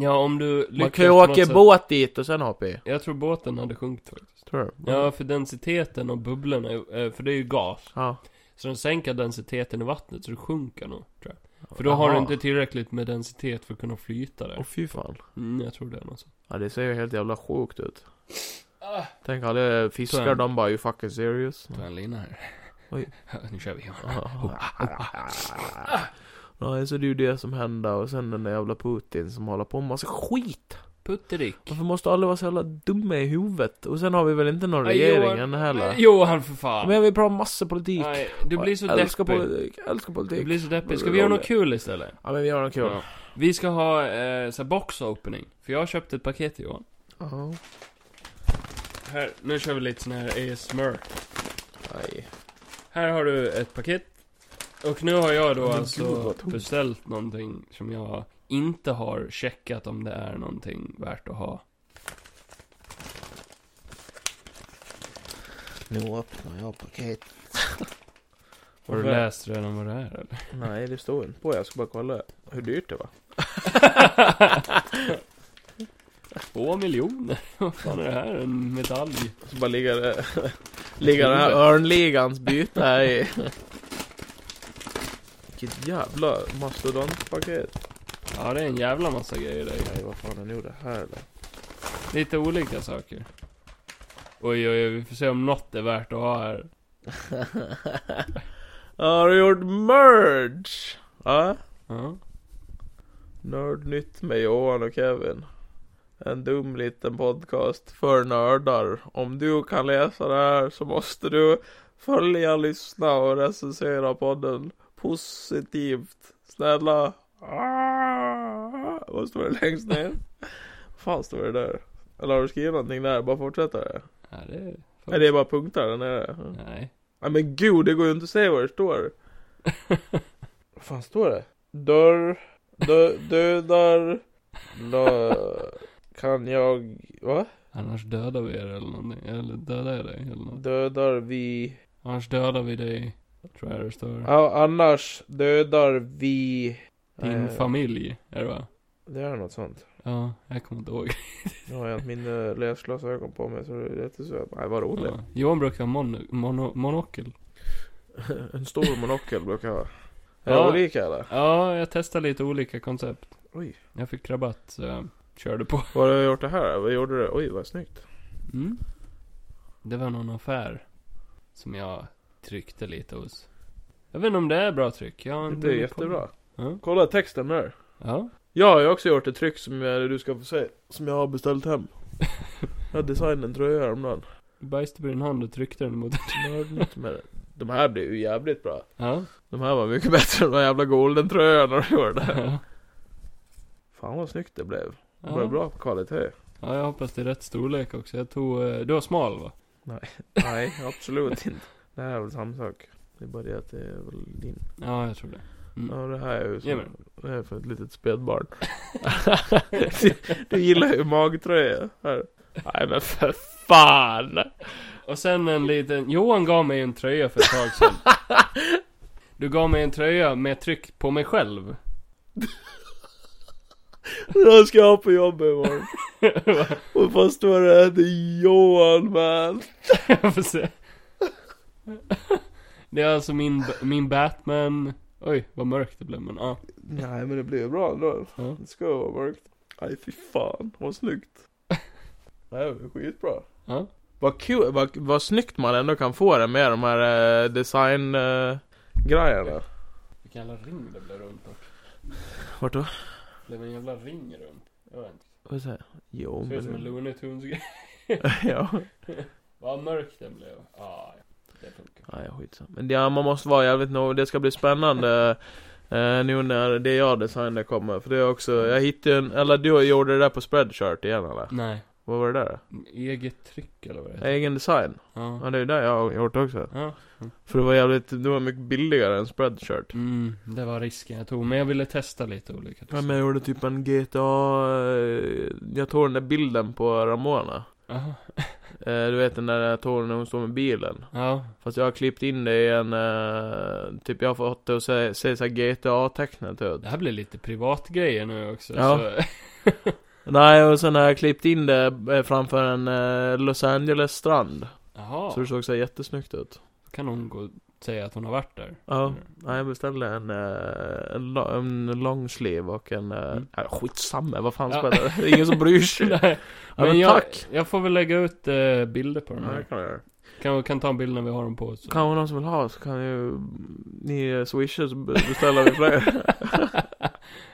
Speaker 4: Ja, om du
Speaker 3: Man
Speaker 4: lyckas
Speaker 3: kan ju
Speaker 4: på något
Speaker 3: åka i
Speaker 4: sätt-
Speaker 3: båt dit och sen hoppa i.
Speaker 4: Jag tror båten hade sjunkit faktiskt.
Speaker 3: Tror du?
Speaker 4: Ja, för densiteten och bubblorna, eh, för det är ju gas.
Speaker 3: Ja.
Speaker 4: Så den sänker densiteten i vattnet så det sjunker nog, tror jag. För då har du
Speaker 3: Jaha.
Speaker 4: inte tillräckligt med densitet för att kunna flyta
Speaker 3: Åh
Speaker 4: där.
Speaker 3: fy fan.
Speaker 4: Mm, jag tror det är något sånt.
Speaker 3: Ja det ser ju helt jävla sjukt ut.
Speaker 4: Ah.
Speaker 3: Tänk alla
Speaker 4: Ta
Speaker 3: fiskar,
Speaker 4: en.
Speaker 3: de bara you fucking serious.
Speaker 4: Ta en lina här.
Speaker 3: Oj.
Speaker 4: Nu kör vi.
Speaker 3: Nej, så det är ju det som händer och sen den där jävla Putin som håller på med massa skit.
Speaker 4: Putterick.
Speaker 3: Varför måste alla vara så jävla dumma i huvudet? Och sen har vi väl inte någon
Speaker 4: Nej,
Speaker 3: regering
Speaker 4: Johan.
Speaker 3: än heller?
Speaker 4: Johan för fan.
Speaker 3: Men vi pratar massa politik.
Speaker 4: Nej, du blir så
Speaker 3: Jag älskar
Speaker 4: deppig.
Speaker 3: politik, jag älskar
Speaker 4: Du
Speaker 3: politik.
Speaker 4: blir så deppig. Ska vi göra något kul istället?
Speaker 3: Ja men vi gör något kul.
Speaker 4: Ja. Vi ska ha eh, så här box opening. För jag har köpt ett paket Johan.
Speaker 3: Ja.
Speaker 4: Här, nu kör vi lite sån här ASMR.
Speaker 3: Nej.
Speaker 4: Här har du ett paket. Och nu har jag då
Speaker 3: Men gud,
Speaker 4: alltså
Speaker 3: vad tomt.
Speaker 4: beställt någonting som jag inte har checkat om det är någonting värt att ha.
Speaker 3: Nu öppnar jag paket.
Speaker 4: Har du
Speaker 3: Varför?
Speaker 4: läst redan vad det är eller?
Speaker 3: Nej det står inte på, jag ska bara kolla hur dyrt det var.
Speaker 4: Två miljoner? (laughs) Vad fan är det här? En medalj?
Speaker 3: Så bara ligger det... (laughs) ligger den här örnligans byte här i. Vilket jävla mastodontpaket.
Speaker 4: Ja, det är en jävla massa grejer där.
Speaker 3: Nej vad fan är nu det här då?
Speaker 4: Lite olika saker. Oj, oj, oj, vi får se om något är värt att ha här.
Speaker 3: (laughs) Har du gjort merge? Ja?
Speaker 4: Ja.
Speaker 3: Nördnytt med Johan och Kevin. En dum liten podcast för nördar. Om du kan läsa det här så måste du följa, lyssna och recensera podden positivt. Snälla. Ah! Vad står det längst ner? Vad fan står det där? Eller har du skrivit någonting där? Bara fortsätta det?
Speaker 4: ja det är...
Speaker 3: Nej det är bara punkter där nere. Ja.
Speaker 4: Nej.
Speaker 3: Nej men gud, det går ju inte att säga vad det står.
Speaker 4: (laughs)
Speaker 3: vad fan står det? Dörr, dö, dödar, la, kan jag, va?
Speaker 4: Annars dödar vi er eller någonting. Eller dödar jag dig eller något.
Speaker 3: Dödar vi,
Speaker 4: Annars dödar vi dig. Tror jag det står.
Speaker 3: ja annars dödar vi.
Speaker 4: Din
Speaker 3: Eh,
Speaker 4: familj, är det va?
Speaker 3: Det är något sånt.
Speaker 4: Ja, jag kommer inte ihåg.
Speaker 3: Nu har jag inte mina läsglasögon på mig så det är jättesöt. Nej vad roligt.
Speaker 4: Ja. Johan brukar ha mon mono monokel.
Speaker 3: (laughs) en stor monokel brukar jag ha. Är
Speaker 4: Ja.
Speaker 3: det olika eller?
Speaker 4: Ja, jag testade lite olika koncept.
Speaker 3: Oj.
Speaker 4: Jag fick rabatt, så jag körde på.
Speaker 3: Vad har du gjort det här? Vad gjorde du? Oj vad snyggt.
Speaker 4: Mm. Det var någon affär som jag tryckte lite hos. Jag vet inte om det är bra tryck. Jag har inte
Speaker 3: Det är
Speaker 4: hunnit kolla.
Speaker 3: jättebra.
Speaker 4: Ja.
Speaker 3: Kolla texten där.
Speaker 4: ja.
Speaker 3: Ja, jag har också gjort
Speaker 4: (laughs)
Speaker 3: ett tryck som eh, du ska få se, som jag har beställt hem. Jag designade en tröja häromdagen.
Speaker 4: bajste på din hand och tryckte den mot... (laughs)
Speaker 3: Men de här blev ju jävligt bra. (laughs)
Speaker 4: Ja.
Speaker 3: De här var mycket bättre än de jävla golden-tröjorna du gjorde.
Speaker 4: Ja.
Speaker 3: Fan vad snyggt det blev. Det
Speaker 4: ja.
Speaker 3: blev bra kvalitet.
Speaker 4: Ja, jag hoppas det är rätt storlek också. Jag tog... eh, Du var smal va?
Speaker 3: Nej, absolut inte. Det här är väl samma sak. Det är bara det att det är väl din.
Speaker 4: Ja, jag tror det. Mm.
Speaker 3: Ja, det här är ju som,
Speaker 4: Jajamän.
Speaker 3: Det här är för ett litet spädbarn. (laughs) du, du gillar ju magtröja. Här. Nej men för fan!
Speaker 4: Och sen en liten... Johan gav mig en tröja för ett tag
Speaker 3: (laughs)
Speaker 4: sedan. Du gav mig en tröja med tryck på mig själv. (laughs)
Speaker 3: Jag ska ha på jobbet imorgon. Och fast står det att det är Johan man.
Speaker 4: Jag får se. Det är alltså min, min Batman... Oj, vad mörkt det blev men ja.
Speaker 3: Nej men det blir ju bra ändå.
Speaker 4: Ja.
Speaker 3: Det ska vara mörkt. Nej fy fan, vad snyggt. Det här var skitbra.
Speaker 4: Ja.
Speaker 3: Vad kul, vad, vad snyggt man ändå kan få det med de här eh, design eh, grejerna.
Speaker 4: Vilken jävla ring det blev runt också.
Speaker 3: Vart då?
Speaker 4: Det blev en jävla ring runt. Jag vet inte.
Speaker 3: Vad säger jag? Jo
Speaker 4: Det ser ut som en Looney Tunes-grej.
Speaker 3: (laughs) ja.
Speaker 4: Vad mörkt den blev. Ja, det funkar.
Speaker 3: Nej, skitsamma. Men ja, man måste vara jävligt noga. Det ska bli spännande (laughs) eh, nu när det jag designade kommer. För det är också, jag hittade en, eller du gjorde det där på Spreadshirt igen eller?
Speaker 4: Nej.
Speaker 3: Vad var det där?
Speaker 4: Eget tryck eller vad det heter.
Speaker 3: Egen design? Ja,
Speaker 4: Ja.
Speaker 3: det är ju det jag har gjort också.
Speaker 4: Ja.
Speaker 3: För det var jävligt, det var mycket billigare än Spreadshirt.
Speaker 4: Mm, det var risken jag tog. Men jag ville testa lite olika.
Speaker 3: Ja, men jag gjorde typ en GTA, eh, jag tog den där bilden på Ramona.
Speaker 4: Aha.
Speaker 3: Eh, du vet den där jag tog när hon står med bilen.
Speaker 4: Ja.
Speaker 3: Fast jag har klippt in det i en, eh, typ jag har fått det att se, se såhär GTA-tecknet ut.
Speaker 4: Det här blir lite privatgrejer nu också.
Speaker 3: Ja.
Speaker 4: Så. (laughs)
Speaker 3: Nej, och sen har jag klippt in det eh, framför en eh, Los Angeles strand.
Speaker 4: Jaha.
Speaker 3: Så det såg så här jättesnyggt ut.
Speaker 4: Kan hon gå och säga att hon har varit där?
Speaker 3: Ja.
Speaker 4: Mm.
Speaker 3: Nej, jag beställde en, eh, en, lo- en long sleeve och en... Mm.
Speaker 4: Mm.
Speaker 3: Äh, skitsamma, vad fan
Speaker 4: Ja.
Speaker 3: spelar det? Det är ingen som bryr (laughs) sig. ja,
Speaker 4: (laughs) Nej,
Speaker 3: men,
Speaker 4: men jag,
Speaker 3: tack!
Speaker 4: jag får väl lägga ut eh, bilder på dem
Speaker 3: Ja, det
Speaker 4: här.
Speaker 3: kan jag göra.
Speaker 4: Kan, kan ta en bild när vi har dem på oss. (laughs)
Speaker 3: (laughs)
Speaker 4: så.
Speaker 3: Kan vara någon som vill ha så kan ju ni eh, swisha så be- beställer
Speaker 4: (laughs)
Speaker 3: vi fler.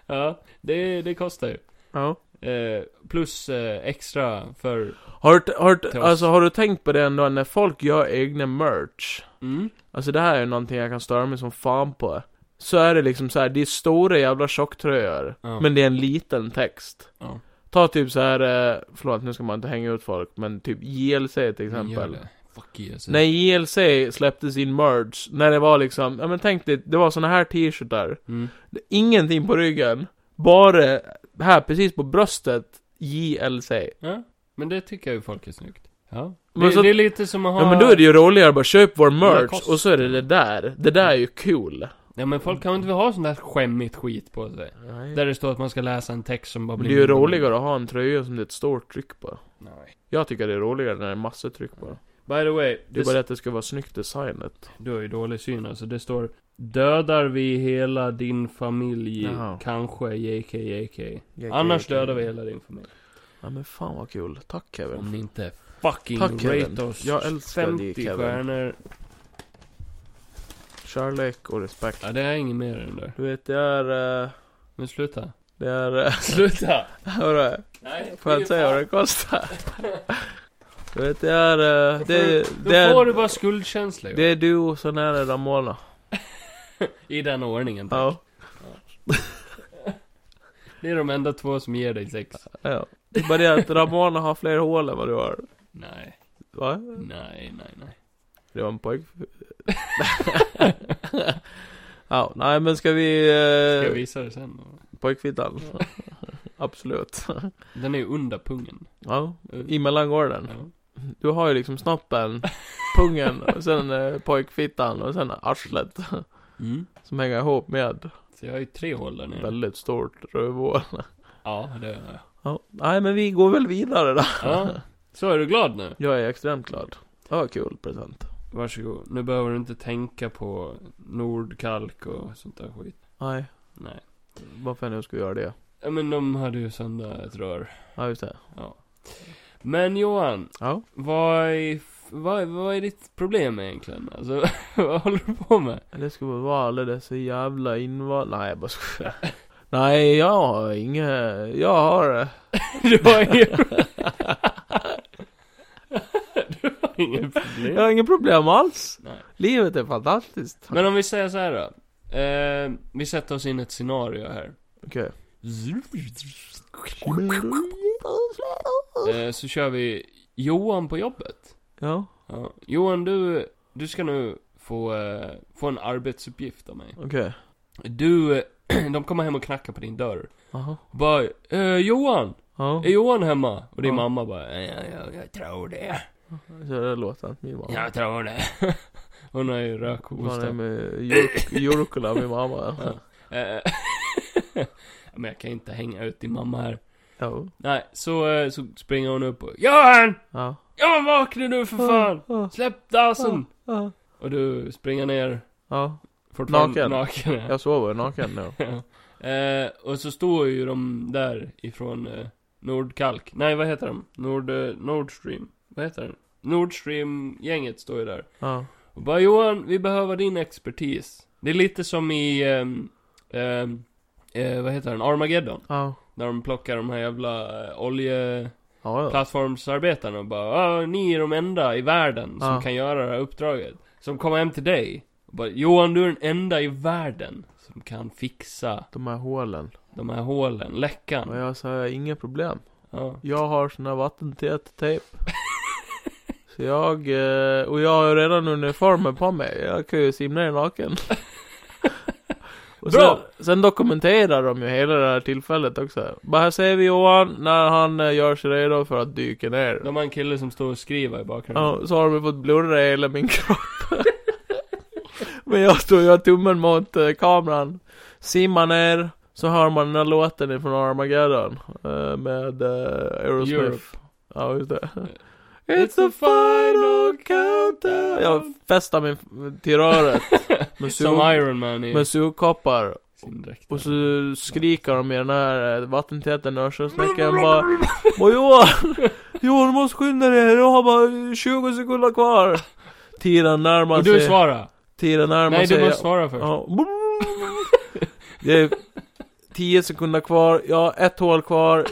Speaker 4: ja, det, det kostar ju.
Speaker 3: ja.
Speaker 4: Eh, plus eh, extra för...
Speaker 3: Har du, t- har, du t-
Speaker 4: Till oss.
Speaker 3: alltså, har du tänkt på det ändå när folk gör egna merch?
Speaker 4: Mm.
Speaker 3: Alltså det här är någonting jag kan störa mig som fan på. Så är det liksom så här, det är stora jävla tjocktröjor.
Speaker 4: Ja.
Speaker 3: Men det är en liten text.
Speaker 4: Ja.
Speaker 3: Ta typ så här, eh, förlåt nu ska man inte hänga ut folk, men typ JLC till
Speaker 4: Gör
Speaker 3: exempel.
Speaker 4: det. Fuck alltså. yes.
Speaker 3: När JLC släppte sin merch, när det var liksom, ja men tänk dig, det var såna här t-shirtar.
Speaker 4: Mm.
Speaker 3: Det- Ingenting på ryggen, bara här precis på bröstet, JLC.
Speaker 4: Ja, men det tycker jag ju folk är snyggt. Ja.
Speaker 3: Men
Speaker 4: det,
Speaker 3: så-
Speaker 4: det är lite som att ha...
Speaker 3: Ja men då är det ju roligare att bara köpa vår merch,
Speaker 4: Lacoste.
Speaker 3: och så är det det där. Det där är ju cool.
Speaker 4: Ja, men folk kan ju inte vilja ha sån där skämmigt skit på sig. Där det står att man ska läsa en text som bara
Speaker 3: Men
Speaker 4: blir...
Speaker 3: det är ju roligare att ha en tröja som det är ett stort tryck på.
Speaker 4: Nej.
Speaker 3: Jag tycker det är roligare när det är massor tryck
Speaker 4: Mm.
Speaker 3: på.
Speaker 4: By the way,
Speaker 3: Det är
Speaker 4: det
Speaker 3: bara det att det ska vara snyggt designat.
Speaker 4: du har ju dålig syn alltså. Det står Dödar vi hela din familj,
Speaker 3: Jaha.
Speaker 4: kanske JK, JK. Annars dödar vi hela din familj.
Speaker 3: Ja men fan vad kul. Tack
Speaker 4: Om
Speaker 3: Kevin.
Speaker 4: ni inte fucking
Speaker 3: Tack, Kevin.
Speaker 4: rate oss
Speaker 3: Jag älskar dig,
Speaker 4: 50
Speaker 3: Kevin.
Speaker 4: stjärnor.
Speaker 3: Kärlek och respekt.
Speaker 4: Ja, det är inget mer än det där.
Speaker 3: Du vet det är... eh,
Speaker 4: Men sluta.
Speaker 3: Det är... eh,
Speaker 4: (laughs)
Speaker 3: (laughs)
Speaker 4: Sluta!
Speaker 3: Hörru.
Speaker 4: Nej,
Speaker 3: Får jag inte säga vad det kostar? (laughs) Du vet det är... eh, Det,
Speaker 4: Då
Speaker 3: det
Speaker 4: får du bara
Speaker 3: är...
Speaker 4: skuldkänsla ju.
Speaker 3: Det är du och sen är det Ramona.
Speaker 4: I den ordningen. tack.
Speaker 3: Ja.
Speaker 4: Det är de enda två som ger dig sex.
Speaker 3: ja. Det är bara det att Ramona har fler hål än vad du har.
Speaker 4: Nej,
Speaker 3: Va?
Speaker 4: nej, nej, nej.
Speaker 3: Det var en pojk. (laughs) ja, nej men ska vi... Eh,
Speaker 4: Ska jag visa det sen?
Speaker 3: Pojkfittan. Absolut.
Speaker 4: Den är ju under pungen.
Speaker 3: ja,
Speaker 4: Eh,
Speaker 3: i mellangården.
Speaker 4: ja.
Speaker 3: Du har ju liksom snoppen, pungen och sen eh, pojkfittan och sen arslet.
Speaker 4: Mm.
Speaker 3: Som hänger ihop med
Speaker 4: Så jag har ju tre hål där nere.
Speaker 3: väldigt stort rövhål.
Speaker 4: Ja, det är jag.
Speaker 3: Ja, nej men vi går väl vidare då.
Speaker 4: Ja. Så är du glad nu?
Speaker 3: Jag är extremt glad. Det var kul present.
Speaker 4: Varsågod. Nu behöver du inte tänka på Nordkalk och sånt där skit.
Speaker 3: Nej,
Speaker 4: Nej.
Speaker 3: varför jag nu skulle göra det?
Speaker 4: Ja, men de hade ju sönder ett rör.
Speaker 3: Ja, just det.
Speaker 4: Ja. Men Johan,
Speaker 3: Ja.
Speaker 4: vad är, vad, vad är ditt problem egentligen? Alltså, (laughs) vad håller du på med?
Speaker 3: Det skulle väl vara alla dessa jävla invandrare. Nej, jag bara skojar. (laughs) Nej, jag har inget... Jag har...
Speaker 4: Du har inget... Du har Inget
Speaker 3: Jag
Speaker 4: problem.
Speaker 3: har inga problem alls.
Speaker 4: Nej.
Speaker 3: Livet är fantastiskt.
Speaker 4: Men om vi säger så här då. Eh, vi sätter oss in i ett scenario här.
Speaker 3: Okej.
Speaker 4: Eh, så kör vi Johan på jobbet.
Speaker 3: Ja,
Speaker 4: Ja. Johan, du, du ska nu få, eh, få en arbetsuppgift av mig.
Speaker 3: okej.
Speaker 4: Du, (clears throat) eh, de kommer hem och knackar på din dörr.
Speaker 3: Jaha.
Speaker 4: Bara, eh, Johan!
Speaker 3: Ja.
Speaker 4: Är Johan hemma? Och din
Speaker 3: Ja.
Speaker 4: mamma bara, "Eh, ja, ja, jag tror det.
Speaker 3: Kör den låten. Min mamma.
Speaker 4: Jag tror det. (laughs) Hon har ju
Speaker 3: Hon är
Speaker 4: rökhosta.
Speaker 3: med Jurk- Jurkola, min mamma.
Speaker 4: (laughs) Ja. Eh, (laughs) Men jag kan inte hänga ut din mamma här.
Speaker 3: Ja.
Speaker 4: Nej, så, eh, så springer hon upp och, Johan!
Speaker 3: Ja.
Speaker 4: Johan vakna nu för fan!
Speaker 3: Ja.
Speaker 4: Släpp dassen!
Speaker 3: Ja.
Speaker 4: Och du springer ner,
Speaker 3: Ja.
Speaker 4: fortfarande
Speaker 3: Naken.
Speaker 4: naken. ja.
Speaker 3: Jag sover naken nu.
Speaker 4: (laughs) eh, och så står ju de där ifrån eh, Nordkalk. Nej, vad heter de? Nord, eh, Nordstream. Vad heter den? Nordstream-gänget står ju där.
Speaker 3: Ja.
Speaker 4: Och bara Johan, vi behöver din expertis. Det är lite som i, ehm, ehm, eh, vad heter den? Armageddon.
Speaker 3: Ja.
Speaker 4: När de plockar de här jävla eh, oljeplattformsarbetarna
Speaker 3: Ja, ja.
Speaker 4: och bara ah, ni är de enda i världen som
Speaker 3: Ja.
Speaker 4: kan göra det här uppdraget. Som kommer hem till dig. Och bara, Johan, du är den enda i världen som kan fixa
Speaker 3: De här hålen.
Speaker 4: de här hålen,
Speaker 3: Och
Speaker 4: läckan.
Speaker 3: jag sa, jag har inga problem.
Speaker 4: Ja.
Speaker 3: Jag har sån här vattentät tejp. Så jag, eh, och jag har ju redan uniformen på mig. Jag kan ju simma i naken. Och sen,
Speaker 4: Bra!
Speaker 3: sen dokumenterar de ju hela det här tillfället också. Bara här ser vi Johan när han eh, gör sig redo för att dyka ner.
Speaker 4: De har en kille som står och skriver i bakgrunden.
Speaker 3: Ja, så har de ju fått blurra i hela min kropp. (laughs) Men jag står ju och tummen mot eh, kameran. Simmar ner, så hör man den här låten ifrån Armageddon. eh, med eh, Aerosmith.
Speaker 4: Europe.
Speaker 3: Ja, (laughs) just det.
Speaker 4: It's
Speaker 3: It's
Speaker 4: the
Speaker 3: the final countdown. Jag fästar min till (laughs) röret. Med
Speaker 4: Som
Speaker 3: sug-
Speaker 4: Iron Man i
Speaker 3: med sugkoppar.
Speaker 4: sin dräkt.
Speaker 3: Och så skriker de i den här eh, vattentäta nörselsnäckan bara Och Johan! Johan du måste skynda dig, jag har bara 20 sekunder kvar! Tiden närmar
Speaker 4: Och du
Speaker 3: sig,
Speaker 4: svarar.
Speaker 3: tiden närmar
Speaker 4: Nej,
Speaker 3: sig
Speaker 4: du måste svara först.
Speaker 3: Ja. Det är 10 sekunder kvar, jag har ett hål kvar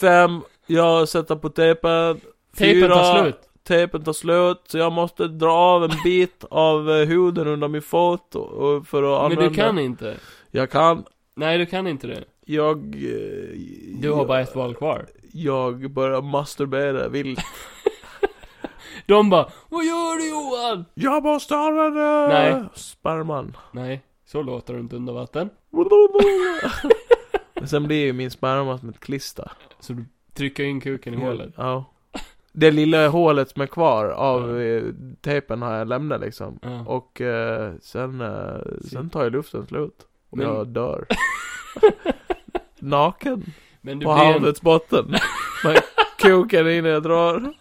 Speaker 3: Fem, jag sätter på tejpen
Speaker 4: Tejpen tar
Speaker 3: Fyra.
Speaker 4: slut.
Speaker 3: Tejpen tar slut, så jag måste dra av en bit av eh, huden under min fot och- och för att
Speaker 4: Men
Speaker 3: använda
Speaker 4: du kan inte.
Speaker 3: Jag kan
Speaker 4: Nej, du kan inte det.
Speaker 3: jag... eh,
Speaker 4: Du har
Speaker 3: jag,
Speaker 4: bara ett val kvar.
Speaker 3: Jag börjar masturbera vilt.
Speaker 4: De bara Vad gör du Johan?
Speaker 3: Jag måste använda...
Speaker 4: Nej. (laughs)
Speaker 3: Sperman.
Speaker 4: Nej, så låter du inte under
Speaker 3: (laughs)
Speaker 4: vatten.
Speaker 3: Men sen blir ju min sperma som ett klister.
Speaker 4: Så du trycker in kuken i hålet.
Speaker 3: Ja. Det lilla hålet som är kvar av
Speaker 4: Ja.
Speaker 3: eh, tejpen har jag lämnat liksom.
Speaker 4: Ja.
Speaker 3: Och eh, sen, eh, sen tar ju luften slut. Och
Speaker 4: Men- (laughs)
Speaker 3: jag dör. Naken.
Speaker 4: Men du,
Speaker 3: På
Speaker 4: blir en,
Speaker 3: havets botten. Med kuken innan jag drar.
Speaker 4: (laughs)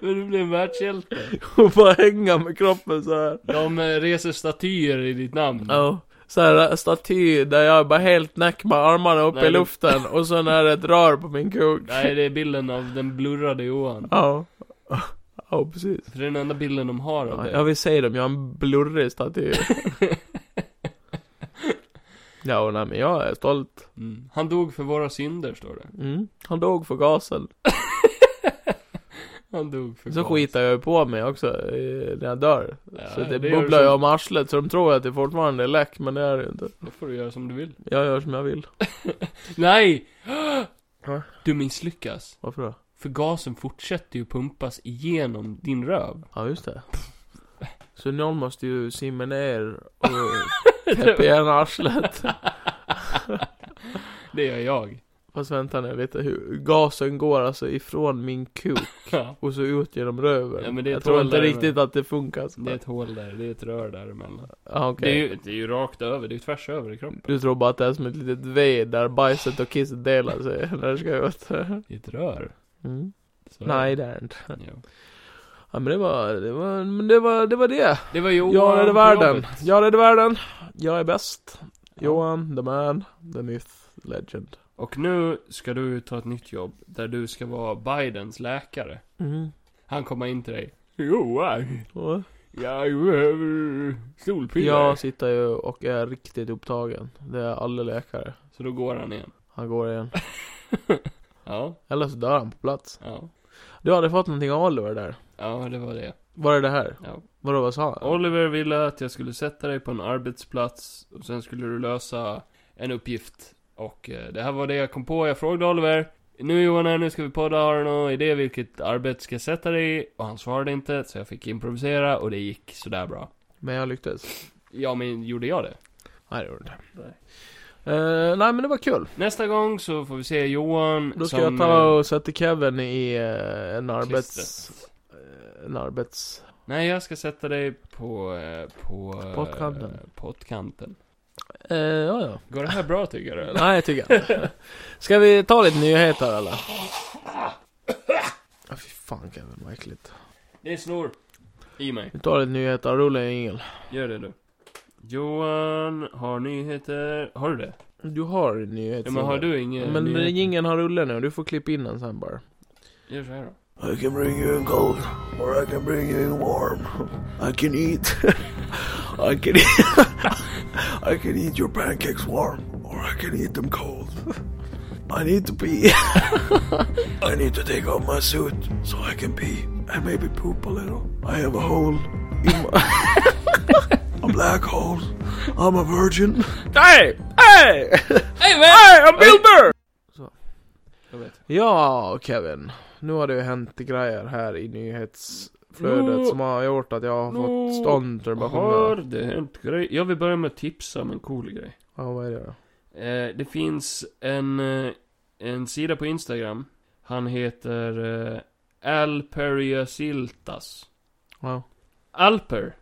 Speaker 4: men du blir en världshjälte.
Speaker 3: Och bara hänga med kroppen så här.
Speaker 4: De eh, reser statyer i ditt namn.
Speaker 3: Ja. Så här äh, staty där jag är bara helt näck med armarna uppe
Speaker 4: Nej,
Speaker 3: i
Speaker 4: det-
Speaker 3: luften och sen är det ett rör på min kuk.
Speaker 4: Nej, det är bilden av den blurrade Johan.
Speaker 3: Ja. Ja, precis.
Speaker 4: För det är den enda bilden de har av
Speaker 3: Ja,
Speaker 4: dig.
Speaker 3: jag vill säga dem, jag är en
Speaker 4: (laughs)
Speaker 3: blurrig staty. ja, och nej, men jag är stolt.
Speaker 4: Mm. Han dog för våra synder, står det.
Speaker 3: Mm. Han dog för gasen.
Speaker 4: Han dog för
Speaker 3: Så
Speaker 4: gas.
Speaker 3: skitar jag ju på mig också eh, när jag dör.
Speaker 4: Ja,
Speaker 3: så det,
Speaker 4: det gör
Speaker 3: bubblar
Speaker 4: du
Speaker 3: ju
Speaker 4: som-
Speaker 3: om arslet så de tror att det fortfarande är läck, men det är det ju inte.
Speaker 4: Då får du göra som du vill.
Speaker 3: Jag gör som jag vill.
Speaker 4: Nej!
Speaker 3: Va?
Speaker 4: Du misslyckas.
Speaker 3: Varför då?
Speaker 4: För gasen fortsätter ju pumpas igenom din
Speaker 3: (laughs)
Speaker 4: röv.
Speaker 3: Ja, just det. Så någon måste ju simma ner och täppa igen arslet.
Speaker 4: Det gör jag.
Speaker 3: Fast vänta nu lite, hur, gasen går alltså ifrån min kuk
Speaker 4: Ja.
Speaker 3: och så ut genom röven.
Speaker 4: Ja, men det är
Speaker 3: jag tror inte
Speaker 4: trådare,
Speaker 3: riktigt att det funkar. Så.
Speaker 4: Det är ett hål där, det är ett rör däremellan.
Speaker 3: Ja,
Speaker 4: Det, är
Speaker 3: okej.
Speaker 4: ju, det är ju rakt över, det är ju tvärs över i kroppen.
Speaker 3: Du tror bara att det är som ett litet V där bajset och kisset delar sig (laughs) när det ska ut.
Speaker 4: Det är ett rör.
Speaker 3: Mm.
Speaker 4: Så.
Speaker 3: Nej, det är det inte.
Speaker 4: Ja.
Speaker 3: Ja, men det var det. Var, men det, var, det, var det.
Speaker 4: Det var Johan
Speaker 3: Jag räddade
Speaker 4: på
Speaker 3: världen.
Speaker 4: jobbet.
Speaker 3: Jag räddade världen. Jag är bäst.
Speaker 4: Ja.
Speaker 3: Johan, the man, the myth, legend.
Speaker 4: Och nu ska du ta ett nytt jobb, där du ska vara Bidens läkare.
Speaker 3: Mm.
Speaker 4: Han kommer in till dig. Johan,
Speaker 3: Och
Speaker 4: jag behöver solpiller.
Speaker 3: Jag sitter ju och är riktigt upptagen. Det är alla läkare.
Speaker 4: Så då går han igen.
Speaker 3: Han går igen.
Speaker 4: Ja,
Speaker 3: Eller så dör han på plats.
Speaker 4: ja.
Speaker 3: Du hade fått någonting av Oliver där.
Speaker 4: Ja, det var det.
Speaker 3: Var det det här?
Speaker 4: Ja.
Speaker 3: Vadå, vad sa han?
Speaker 4: Oliver ville att jag skulle sätta dig på en arbetsplats och sen skulle du lösa en uppgift. Och eh, det här var det jag kom på. Jag frågade Oliver. Nu Johan här, nu ska vi podda. Har du någon idé vilket arbete ska jag sätta dig i? Och han svarade inte, så jag fick improvisera och det gick sådär bra.
Speaker 3: Men jag lyckades.
Speaker 4: Ja, men gjorde jag det?
Speaker 3: Nej, det gjorde inte.
Speaker 4: Nej.
Speaker 3: Eh, nej, men det var kul.
Speaker 4: Nästa gång så får vi se Johan
Speaker 3: Då ska
Speaker 4: som,
Speaker 3: jag ta
Speaker 4: eh,
Speaker 3: och sätta Kevin i eh, en arbets...
Speaker 4: klistret.
Speaker 3: eh, En arbets...
Speaker 4: Nej, jag ska sätta dig på... eh, På... eh,
Speaker 3: Pottkanten.
Speaker 4: Pottkanten.
Speaker 3: Eh, ja, ja.
Speaker 4: Går det här bra tycker du? Eller?
Speaker 3: Nej, jag tycker jag.
Speaker 4: (laughs)
Speaker 3: Ska vi ta lite nyheter eller? Ah, fy fan Kevin, vad äckligt.
Speaker 4: Det är snor. I mig.
Speaker 3: Vi tar lite nyheter, rulla en jingel.
Speaker 4: Gör det du. Johan har nyheter. Har du det?
Speaker 3: Du har nyheter.
Speaker 4: Ja, men har du inget?
Speaker 3: Men eh,
Speaker 4: nyheter?
Speaker 3: ingen har rullat nu, du får klippa in den sen bara.
Speaker 4: Gör så här då.
Speaker 5: I can bring you in cold, or I can bring you in warm. I can eat. I can eat. I can eat your pancakes warm, or I can eat them cold. (laughs) I need to pee. (laughs) I need to take off my suit so I can pee and maybe poop a little. I have a hole in my. (laughs) a black hole. I'm a virgin.
Speaker 3: Hej! Hej!
Speaker 4: Hej man!
Speaker 3: I'm Bill Burr!
Speaker 4: Jag vet.
Speaker 3: Ja, Kevin. Nu har det ju hänt grejer här i nyhetsflödet
Speaker 4: Nå.
Speaker 3: som har gjort att jag har
Speaker 4: Nå.
Speaker 3: fått
Speaker 4: Har
Speaker 3: ståndrebationer.
Speaker 4: det hänt grej? Jag vill börja med att tipsa om en cool grej.
Speaker 3: Ja, vad är det då?
Speaker 4: Eh, det finns en, eh, en sida på Instagram. Han heter eh, Alperiasiltas.
Speaker 3: Ja.
Speaker 4: Alper.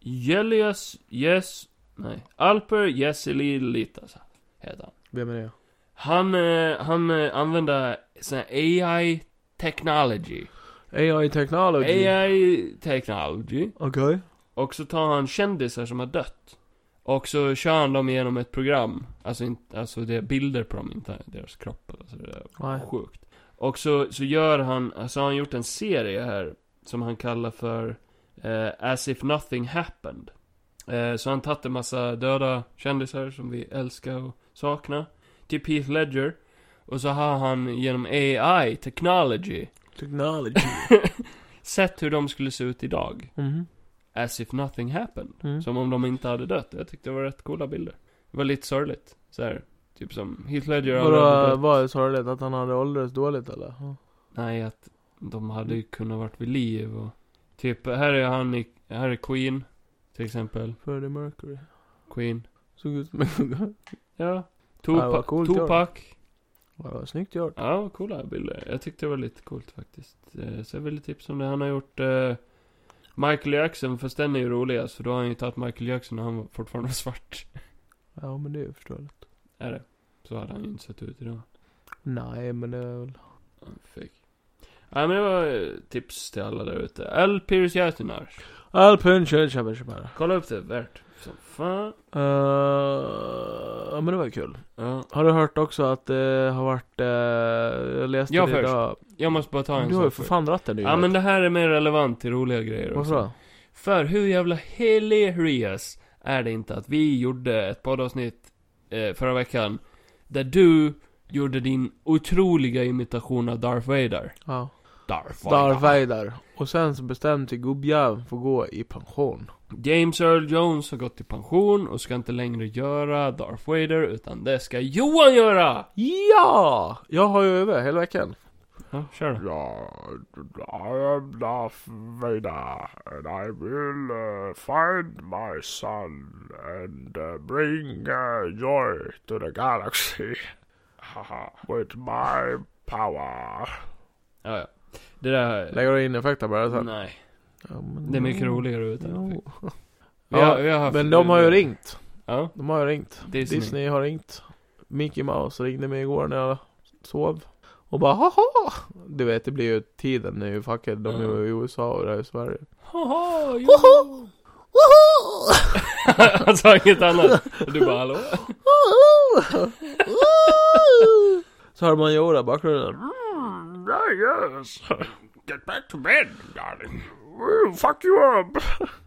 Speaker 4: Jelias, yes, nej. Alper Jeselilitas heter han.
Speaker 3: Vem är det?
Speaker 4: Han, eh, han eh, använder sån här AI technology.
Speaker 3: AI Technology.
Speaker 4: AI technology.
Speaker 3: Okej.
Speaker 4: Och så tar han kändisar som har dött. Och så kör han dem genom ett program. Alltså, inte, alltså det är bilder på dem, inte deras kropp. Alltså det är
Speaker 3: Nej.
Speaker 4: Sjukt. Och så, så gör han, alltså har han gjort en serie här som han kallar för eh, As if nothing happened. Eh, så han tagit en massa döda kändisar som vi älskar och saknar. Typ Heath Ledger. Och så har han genom AI, technology,
Speaker 3: Technology.
Speaker 4: sett hur de skulle se ut idag.
Speaker 3: (laughs) Mhm.
Speaker 4: As if nothing happened.
Speaker 3: Mm.
Speaker 4: Som om de inte hade dött. Jag tyckte det var rätt coola bilder. Det var lite sorgligt. Så här, typ som Heath Ledger aldrig hade
Speaker 3: Vadå,
Speaker 4: dött.
Speaker 3: var det sorgligt att han hade åldrats dåligt eller? Ja.
Speaker 4: Nej, att de hade
Speaker 3: Mm.
Speaker 4: ju kunnat varit vid liv och... Typ, här är han i, här är Queen. Till exempel.
Speaker 3: Freddie Mercury.
Speaker 4: Queen.
Speaker 3: Såg ut som en gubbe.
Speaker 4: Ja.
Speaker 3: Ja,
Speaker 4: Tupac.
Speaker 3: vad coolt
Speaker 4: Tupac.
Speaker 3: (laughs) Ja, vad snyggt gjort.
Speaker 4: Ja, vad coola bilder. Jag tyckte det var lite coolt faktiskt. Eh, Så jag ville tipsa om det. Han har gjort eh, Michael Jackson, fast den är ju roligast. För då har han ju tagit Michael Jackson när han var- fortfarande var svart.
Speaker 3: Ja, men det är ju förståeligt.
Speaker 4: Är det? Så hade han ju inte sett ut idag.
Speaker 3: Nej, men det är väl...
Speaker 4: Han fick. Nej men det var eh, tips till alla där ute. Al Piers Jätinars.
Speaker 3: Alpun Kjellkjellkjellkjell.
Speaker 4: Kolla upp det, värt. Som fan.
Speaker 3: Uh, ja, men det var ju kul.
Speaker 4: Ja.
Speaker 3: Har du hört också att det har varit... eh, jag läste
Speaker 4: Jag
Speaker 3: det
Speaker 4: först.
Speaker 3: idag.
Speaker 4: Jag måste bara ta en
Speaker 3: Du har ju
Speaker 4: sak
Speaker 3: för
Speaker 4: först.
Speaker 3: fan dratt en nyhet.
Speaker 4: Ja men det här är mer relevant till roliga grejer
Speaker 3: Varför
Speaker 4: också.
Speaker 3: då?
Speaker 4: För hur jävla hilarious är det inte att vi gjorde ett poddavsnitt eh, förra veckan. Där du gjorde din otroliga imitation av Darth Vader.
Speaker 3: Ja.
Speaker 4: Darth
Speaker 3: Darth Vader. Och sen så bestämde sig gubbjäveln för att gå i pension.
Speaker 4: James Earl Jones har gått i pension och ska inte längre göra Darth Vader utan det ska Johan göra!
Speaker 3: Ja! Jag har ju över hela veckan.
Speaker 4: Ja, kör då.
Speaker 2: Yeah, I am Darth Vader, and I will uh, find my son and uh, bring uh, joy to the galaxy (laughs) Haha, with my power.
Speaker 4: Ja, ja. Det där...
Speaker 3: Lägger du in effekter bara sen?
Speaker 4: Nej.
Speaker 3: Ja, men-
Speaker 4: Mm. Det är mycket roligare utan
Speaker 3: Jo.
Speaker 4: effekt. Vi har- vi har haft-
Speaker 3: Men de har ju ringt.
Speaker 4: Ja,
Speaker 3: De har ju ringt.
Speaker 4: Disney.
Speaker 3: Disney, har ringt. Mickey Mouse ringde mig igår när jag sov. Och bara haha! Du vet, det blir ju tiden nu fucked. De är ju i USA och det här i Sverige.
Speaker 4: Haha, jo.
Speaker 3: Woho! Woho!
Speaker 4: (laughs) Han sa inget annat. Och du bara hallå?
Speaker 3: Woho! Woho! Så hör man Yoda i bakgrunden.
Speaker 2: Mm, ah, yes. (laughs) Get back to bed, darling. We'll fuck you up. (laughs)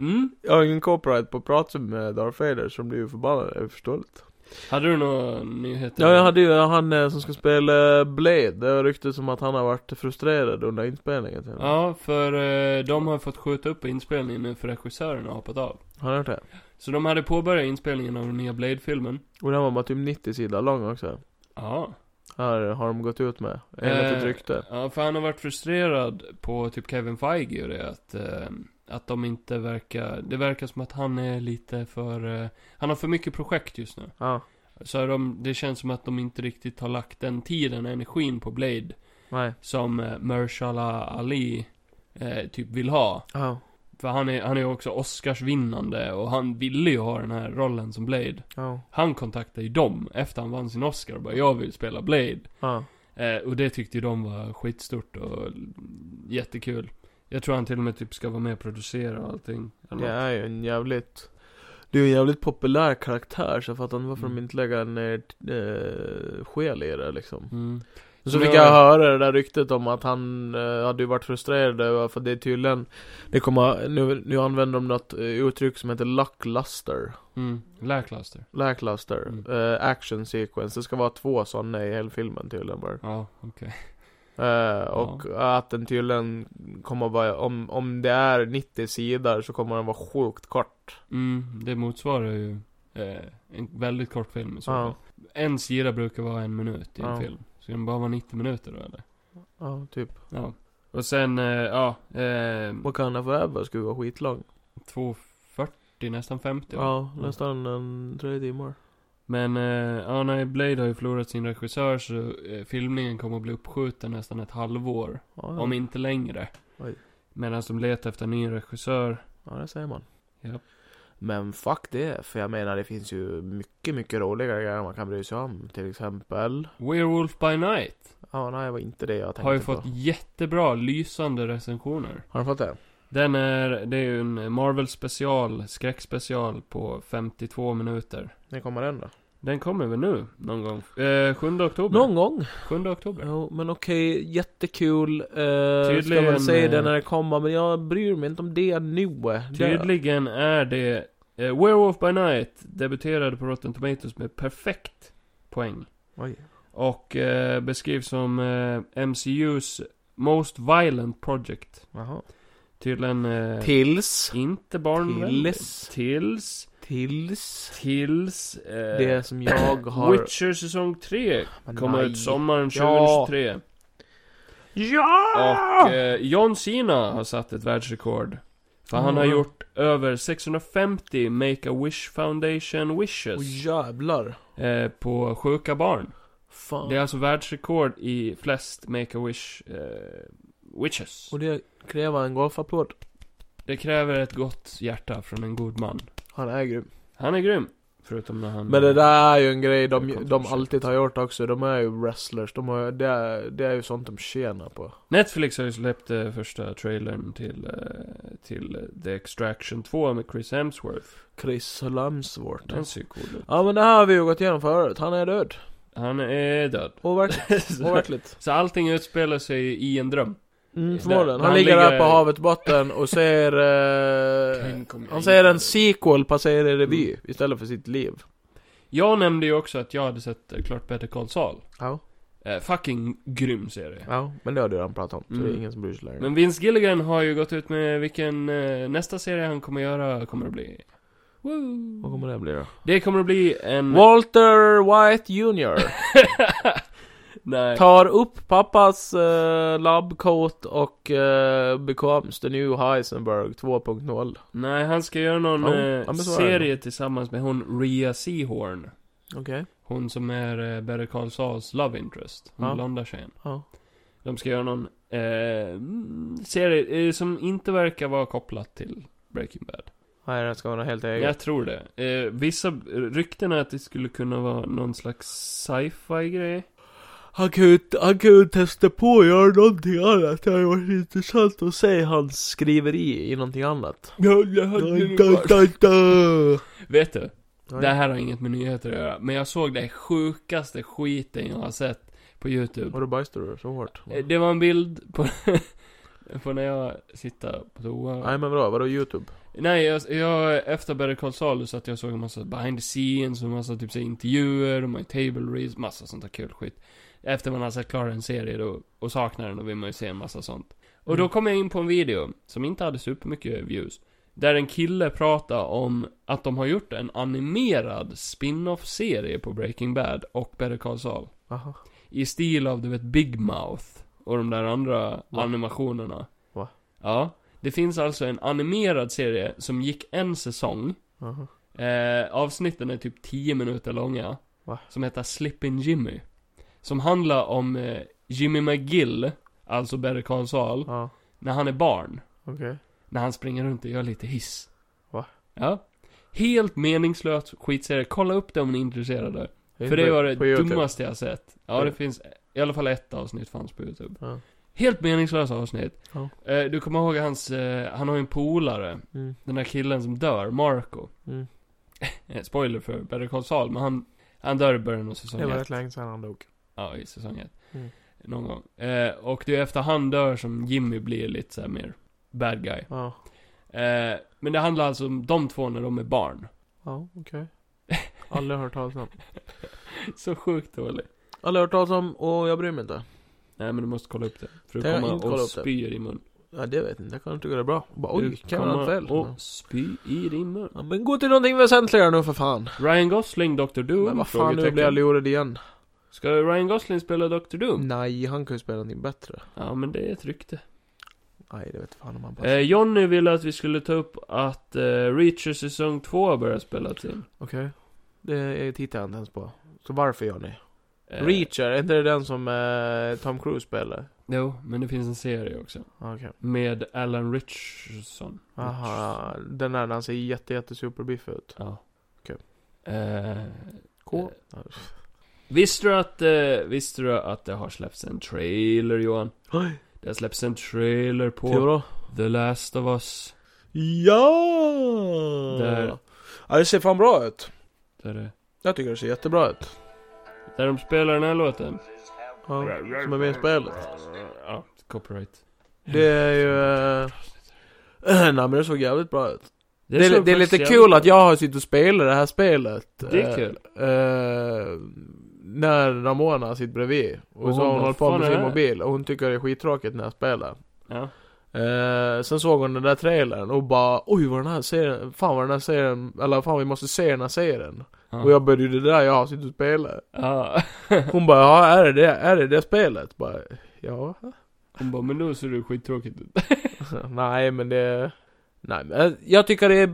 Speaker 4: Mm.
Speaker 3: Jag har ingen copyright på att prata med Darth Vader så de blir ju förbannade, det är förståeligt.
Speaker 4: Hade du några nyheter?
Speaker 3: Ja, jag hade ju han eh, som ska spela Blade. Det har ryktats som att han har varit frustrerad under inspelningen. till och med.
Speaker 4: Ja, för eh, de har fått skjuta upp inspelningen nu för regissören har hoppat av.
Speaker 3: Har ni hört det?
Speaker 4: Så de hade påbörjat inspelningen av den nya Blade-filmen.
Speaker 3: Och den var bara typ 90 sidor lång också.
Speaker 4: Ja.
Speaker 3: Här har de gått ut med. Enligt ett rykte.
Speaker 4: Eh, Ja, för han har varit frustrerad på typ Kevin Feige och det att, eh, att de inte verkar, det verkar som att han är lite för, eh, han har för mycket projekt just nu.
Speaker 3: Ja.
Speaker 4: Så de, det känns som att de inte riktigt har lagt den tiden och energin på Blade
Speaker 3: Nej.
Speaker 4: som eh, Mahershala Ali eh, typ vill ha.
Speaker 3: Ja.
Speaker 4: För han är, han är ju också Oscarsvinnande och han ville ju ha den här rollen som Blade.
Speaker 3: Ja.
Speaker 4: Han kontaktade ju dem efter han vann sin Oscar och bara 'Jag vill spela Blade'
Speaker 3: Ja.
Speaker 4: Eh, och det tyckte ju de var skitstort och jättekul. Jag tror han till och med typ ska vara med och producera och allting. Eller
Speaker 3: Det
Speaker 4: något.
Speaker 3: är ju en jävligt Det är ju en jävligt populär karaktär så jag fattar inte varför
Speaker 4: Mm.
Speaker 3: de inte lägger ner eh, själ i det liksom
Speaker 4: Mm.
Speaker 3: Så
Speaker 4: Men
Speaker 3: fick
Speaker 4: det-
Speaker 3: jag höra det där ryktet om att han eh, hade ju varit frustrerad över för det är tydligen Det kommer, nu, nu använder de något eh, uttryck som heter lackluster
Speaker 4: Mm. Lackluster.
Speaker 3: Lackluster,
Speaker 4: Mm.
Speaker 3: eh, action sequence, det ska vara två sådana i hela filmen tydligen bara
Speaker 4: Ja, okej.
Speaker 3: Eh, och att den tydligen kommer vara, om, om det är 90 sidor så kommer den vara sjukt kort
Speaker 4: Mm, det motsvarar ju eh, en väldigt kort film i så
Speaker 3: Ja.
Speaker 4: fall. En sida brukar vara en minut i en
Speaker 3: Ja.
Speaker 4: film. Ska den bara vara 90 minuter då eller?
Speaker 3: Ja, typ
Speaker 4: Ja. Och sen, eh, ja, eh,
Speaker 3: Wakanda Forever skulle vara skitlång.
Speaker 4: 2.40, nästan 50 va?
Speaker 3: Ja, nästan en tre timmar.
Speaker 4: Men, eh, ja nej, Blade har ju förlorat sin regissör så eh, filmningen kommer att bli uppskjuten nästan ett halvår.
Speaker 3: Ja,
Speaker 4: Om inte längre.
Speaker 3: Oj.
Speaker 4: Medan de letar efter en ny regissör.
Speaker 3: ja det säger man.
Speaker 4: Japp.
Speaker 3: Men fuck det, för jag menar det finns ju mycket, mycket roligare grejer man kan bry sig om. Till exempel.
Speaker 4: Werewolf by Night.
Speaker 3: Ja, nej det var inte det jag tänkte
Speaker 4: Har ju
Speaker 3: på.
Speaker 4: fått jättebra, lysande recensioner.
Speaker 3: Har du fått det?
Speaker 4: Den är, det är ju en Marvel special, skräckspecial på 52 minuter.
Speaker 3: När kommer den då?
Speaker 4: Den kommer väl nu, någon gång? Eh, 7 oktober.
Speaker 3: Någon gång.
Speaker 4: 7 oktober.
Speaker 3: Jo, men okej, jättekul. Eh, Tydligen.
Speaker 4: Tydligen,
Speaker 3: Ska man säga det
Speaker 4: eh,
Speaker 3: när det kommer, men jag bryr mig inte om det nu. Det,
Speaker 4: Tydligen är det... Eh, Werewolf by Night debuterade på Rotten Tomatoes med perfekt poäng.
Speaker 3: oj.
Speaker 4: Och eh, beskrivs som eh, MCU's Most Violent Project.
Speaker 3: Jaha.
Speaker 4: Tydligen eh,
Speaker 3: Tills.
Speaker 4: inte barnvänlig.
Speaker 3: Tills.
Speaker 4: Tills.
Speaker 3: Tills.
Speaker 4: Tills. Eh,
Speaker 3: Det
Speaker 4: (coughs)
Speaker 3: som jag har...
Speaker 4: Witcher säsong 3
Speaker 3: Men
Speaker 4: kommer
Speaker 3: nej.
Speaker 4: ut sommaren
Speaker 3: Ja.
Speaker 4: 2023.
Speaker 3: Ja!
Speaker 4: Och eh, John Cena har satt ett världsrekord. För han har
Speaker 3: Mm.
Speaker 4: gjort över 650 Make-A-Wish Foundation
Speaker 3: Åh
Speaker 4: wishes
Speaker 3: jävlar.
Speaker 4: eh, på sjuka barn.
Speaker 3: Fan.
Speaker 4: Det är alltså världsrekord i flest Make-A-Wish eh, wishes.
Speaker 3: Och det kräver en golfapplåd.
Speaker 4: Det kräver ett gott hjärta från en god man.
Speaker 3: Han är grym.
Speaker 4: Han är grym. Förutom när han...
Speaker 3: Men det där är ju en grej
Speaker 4: Mm. Det är
Speaker 3: de, de
Speaker 4: kontroversiellt.
Speaker 3: alltid har gjort också. De är ju wrestlers. De har, det, är, det är ju sånt de tjänar på.
Speaker 4: Netflix har ju släppt eh, första trailern till, eh, till eh, The Extraction 2 med Chris Hemsworth.
Speaker 3: Chris Lamsworth.
Speaker 4: Den ser ju cool ut.
Speaker 3: Ja men det här har vi ju gått igenom förut. Han är död.
Speaker 4: Han är (laughs) död.
Speaker 3: Overkligt.
Speaker 4: så,
Speaker 3: Overkligt.
Speaker 4: så allting utspelar sig i en dröm.
Speaker 3: Mm,
Speaker 4: Där.
Speaker 3: förmodligen. Han
Speaker 4: Han
Speaker 3: ligger där
Speaker 4: ligger-
Speaker 3: på havets botten och ser... Eh,
Speaker 4: Tänk om jag
Speaker 3: han ser
Speaker 4: inte-
Speaker 3: en sequel passera i revy istället för sitt liv.
Speaker 4: Jag nämnde ju också att jag hade sett eh, klart Better Call Saul.
Speaker 3: Ja.
Speaker 4: Eh, fucking grym serie.
Speaker 3: Ja, men det har du redan pratat om. Så det är
Speaker 4: Mm.
Speaker 3: ingen som bryr sig längre.
Speaker 4: Men Vince Gilligan har ju gått ut med vilken eh, nästa serie han kommer göra kommer att bli. Woo.
Speaker 3: Vad kommer det bli då?
Speaker 4: Det kommer att bli
Speaker 3: Mm.
Speaker 4: en...
Speaker 3: Walter White Jr.
Speaker 4: Nej.
Speaker 3: Tar upp pappas eh, labbcoat och eh, becomes the new Heisenberg 2.0.
Speaker 4: Nej, han ska göra någon
Speaker 3: Ja,
Speaker 4: eh,
Speaker 3: ja, men så är det
Speaker 4: serie tillsammans med hon Rhea Seahorn.
Speaker 3: Okej.
Speaker 4: Hon som är eh, Better Call Sauls love interest. Hon
Speaker 3: Ja.
Speaker 4: blonda tjejen.
Speaker 3: Ja.
Speaker 4: De ska göra någon eh, mm, serie eh, som inte verkar vara kopplat till Breaking Bad.
Speaker 3: Nej, den ska vara något helt eget.
Speaker 4: Jag tror det. Eh, vissa rykten är att det skulle kunna vara någon slags sci-fi grej.
Speaker 3: Han kan ju, han kan ju testa på att göra någonting annat. Det hade varit intressant att se hans skriveri i någonting annat.
Speaker 4: Vet du?
Speaker 3: Nej.
Speaker 4: Det här har inget med nyheter att göra. Men jag såg det sjukaste skiten jag har sett på YouTube.
Speaker 3: Och då bajsade du så hårt.
Speaker 4: Eh, Det var en bild (laughs) på... Får när jag sitta på toa?
Speaker 3: Nej men bra, vadå youtube?
Speaker 4: Nej, jag, jag efter Better Call Saul så att jag såg en massa behind the scenes och en massa typ så här intervjuer och my table reads, massa sånt där kul skit. Efter man har sett klart en serie då, och saknar den, då vill man ju se en massa sånt. Och då
Speaker 3: Mm.
Speaker 4: kom jag in på en video, som inte hade supermycket views, där en kille pratade om att de har gjort en animerad spin-off-serie på Breaking Bad och Better Call Saul.
Speaker 3: Aha.
Speaker 4: I stil av, du vet, Big Mouth och de där andra
Speaker 3: Va?
Speaker 4: animationerna.
Speaker 3: Va?
Speaker 4: Ja. Det finns alltså en animerad serie som gick en säsong.
Speaker 3: Aha.
Speaker 4: Eh, avsnitten är typ 10 minuter långa.
Speaker 3: Va?
Speaker 4: Som heter Slippin' Jimmy. Som handlar om eh, Jimmy McGill, alltså Better Call Saul,
Speaker 3: Ja,
Speaker 4: när han är barn.
Speaker 3: okej.
Speaker 4: När han springer runt och gör lite hiss.
Speaker 3: Va?
Speaker 4: Ja. Helt meningslös skitserie. Kolla upp det om ni är intresserade. För det
Speaker 3: På-
Speaker 4: var det
Speaker 3: på YouTube.
Speaker 4: dummaste jag sett. Ja,
Speaker 3: Ja.
Speaker 4: det finns, i alla fall ett avsnitt fanns på YouTube.
Speaker 3: Ja.
Speaker 4: Helt meningslösa avsnitt.
Speaker 3: Ja.
Speaker 4: Eh, du kommer ihåg hans, eh, han har ju en polare,
Speaker 3: Mm.
Speaker 4: den där killen som dör, Marco.
Speaker 3: Mm.
Speaker 4: Eh, spoiler för Better Call Saul, men han, han dör i början av säsong
Speaker 3: Det var
Speaker 4: ett.
Speaker 3: rätt länge sedan han dog.
Speaker 4: Ja, i säsong ett.
Speaker 3: Mm.
Speaker 4: Någon gång. Eh, och det är efter han dör som Jimmy blir lite så här mer bad guy.
Speaker 3: Ja.
Speaker 4: Eh, men det handlar alltså om de två när de är barn. (laughs)
Speaker 3: Ja, okej. Aldrig hört talas om.
Speaker 4: Så sjukt dålig.
Speaker 3: Aldrig hört talas om och jag bryr mig inte.
Speaker 4: Nej men du måste kolla upp det. För du
Speaker 3: Det har jag
Speaker 4: kommer
Speaker 3: inte kollat
Speaker 4: och
Speaker 3: upp det.
Speaker 4: spyr i mun.
Speaker 3: Ja, det vet jag inte. Jag kan tycka det är bra. Bara, oj,
Speaker 4: Du
Speaker 3: kan man ha
Speaker 4: kommer
Speaker 3: fel? Ja.
Speaker 4: Och spy i din mun.
Speaker 3: Ja, men gå till någonting väsentligare nu för fan.
Speaker 4: Ryan Gosling, Dr. Doom?
Speaker 3: Men vad fan, nu
Speaker 4: Frågetecken.
Speaker 3: blir jag Mm. lurad igen.
Speaker 4: Ska Ryan Gosling spela Dr. Doom?
Speaker 3: Nej, han kan ju spela någonting bättre.
Speaker 4: Ja, men det är ett rykte.
Speaker 3: Nej, det vet fan om han passar.
Speaker 4: Eh, Jonny ville att vi skulle ta upp att eh, Reacher säsong 2 börjar spelas in.
Speaker 3: Okej. Det tittar jag inte ens på. Så varför gör ni?
Speaker 4: Eh,
Speaker 3: Reacher, är inte det den som eh, Tom Cruise spelar?
Speaker 4: Jo, men det finns en serie också.
Speaker 3: Okej.
Speaker 4: Med Alan Richardson.
Speaker 3: Aha, den där när han ser jätte, jätte superbiff ut.
Speaker 4: Ja.
Speaker 3: Okej.
Speaker 4: Eh,
Speaker 3: Cool.
Speaker 4: visste, du att, eh, visste du att det har släppts en trailer, Johan?
Speaker 3: Oj.
Speaker 4: Det har släppts en trailer
Speaker 3: Till
Speaker 4: på
Speaker 3: vadå?
Speaker 4: The Last of Us.
Speaker 3: Ja!
Speaker 4: Där.
Speaker 3: Ja, det ser fan bra ut.
Speaker 4: Där, det-
Speaker 3: Jag tycker det ser jättebra ut.
Speaker 4: där de spelar den här låten.
Speaker 3: Ja, som är med i spelet.
Speaker 4: Ja, copyright.
Speaker 3: Det är ju... eh, (clears throat) Nej men det såg jävligt bra ut. Det, är-
Speaker 4: såg
Speaker 3: det är
Speaker 4: faktiskt
Speaker 3: lite
Speaker 4: jävligt
Speaker 3: kul
Speaker 4: bra
Speaker 3: att jag har suttit och spelat det här spelet.
Speaker 4: Det är kul.
Speaker 3: Eh, eh, när Ramona sitter bredvid. Och,
Speaker 4: Och
Speaker 3: så
Speaker 4: hon
Speaker 3: har hon
Speaker 4: bara,
Speaker 3: hållit på
Speaker 4: "Fan
Speaker 3: med
Speaker 4: är
Speaker 3: sin
Speaker 4: det här?"
Speaker 3: mobil. Och hon tycker det är skittråkigt när jag spelar.
Speaker 4: Ja.
Speaker 3: Eh, sen såg hon den där trailern och bara Oj vad den här serien, fan vad den här serien, eller fan vi måste se den här serien.
Speaker 4: Ja.
Speaker 3: Och jag började det där jag har suttit och spelat.
Speaker 4: ja.
Speaker 3: Hon bara ja är det det, är det, det spelet? Bara, ja. (laughs)
Speaker 4: Hon bara, men nu ser du skittråkigt ut.
Speaker 3: nej men det, nej men eh, jag tycker det är,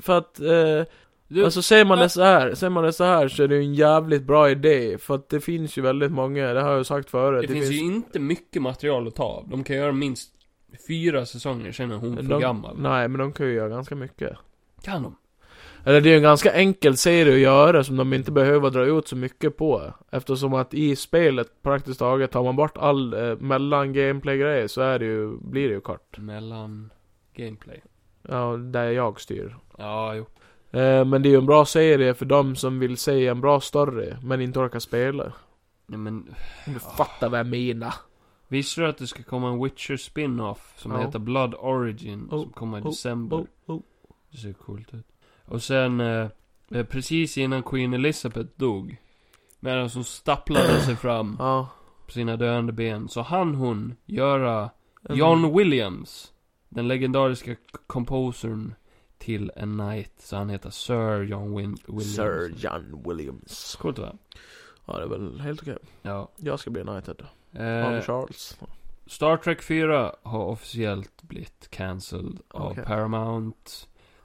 Speaker 3: för att eh,
Speaker 4: Du,
Speaker 3: Alltså ser man det så här, ser man det så här så är det ju en jävligt bra idé. För att det finns ju väldigt många, det har jag ju sagt förut.
Speaker 4: det finns ju inte mycket material att ta av. De kan göra minst fyra säsonger, sen är hon för
Speaker 3: de,
Speaker 4: gammal.
Speaker 3: Nej men de kan ju göra ganska mycket.
Speaker 4: Kan de?
Speaker 3: Eller det är ju en ganska enkel serie att göra som de inte behöver dra ut så mycket på. Eftersom att i spelet praktiskt taget tar man bort all eh, mellan gameplay-grejer så är det ju, blir det ju kort.
Speaker 4: Mellan gameplay.
Speaker 3: Ja, där jag styr.
Speaker 4: Ja, jo.
Speaker 3: Eh, men det är ju en bra serie för de som vill se en bra story men inte orkar spela.
Speaker 4: Nej, men
Speaker 3: Om du fattar vad jag menar.
Speaker 4: visste du att det ska komma en Witcher spin-off som
Speaker 3: Ja.
Speaker 4: heter Blood Origin
Speaker 3: Oh,
Speaker 4: som kommer i
Speaker 3: oh,
Speaker 4: december?
Speaker 3: oh, oh.
Speaker 4: Det ser coolt ut. Och sen, eh, eh, precis innan Queen Elizabeth dog, medan hon stapplade
Speaker 3: (clears throat)
Speaker 4: sig fram
Speaker 3: Ja.
Speaker 4: på sina döende ben, så hann hon göra
Speaker 3: Mm.
Speaker 4: John Williams, den legendariska k- composern till A Knight, så han heter Sir John Win- Williams.
Speaker 3: Sir John Williams.
Speaker 4: Coolt va?
Speaker 3: Ja, det är väl helt okej.
Speaker 4: Ja.
Speaker 3: Jag ska bli United.
Speaker 4: Eh,
Speaker 3: Arne Charles.
Speaker 4: Star Trek 4 har officiellt blivit cancelled av
Speaker 3: Okej.
Speaker 4: Paramount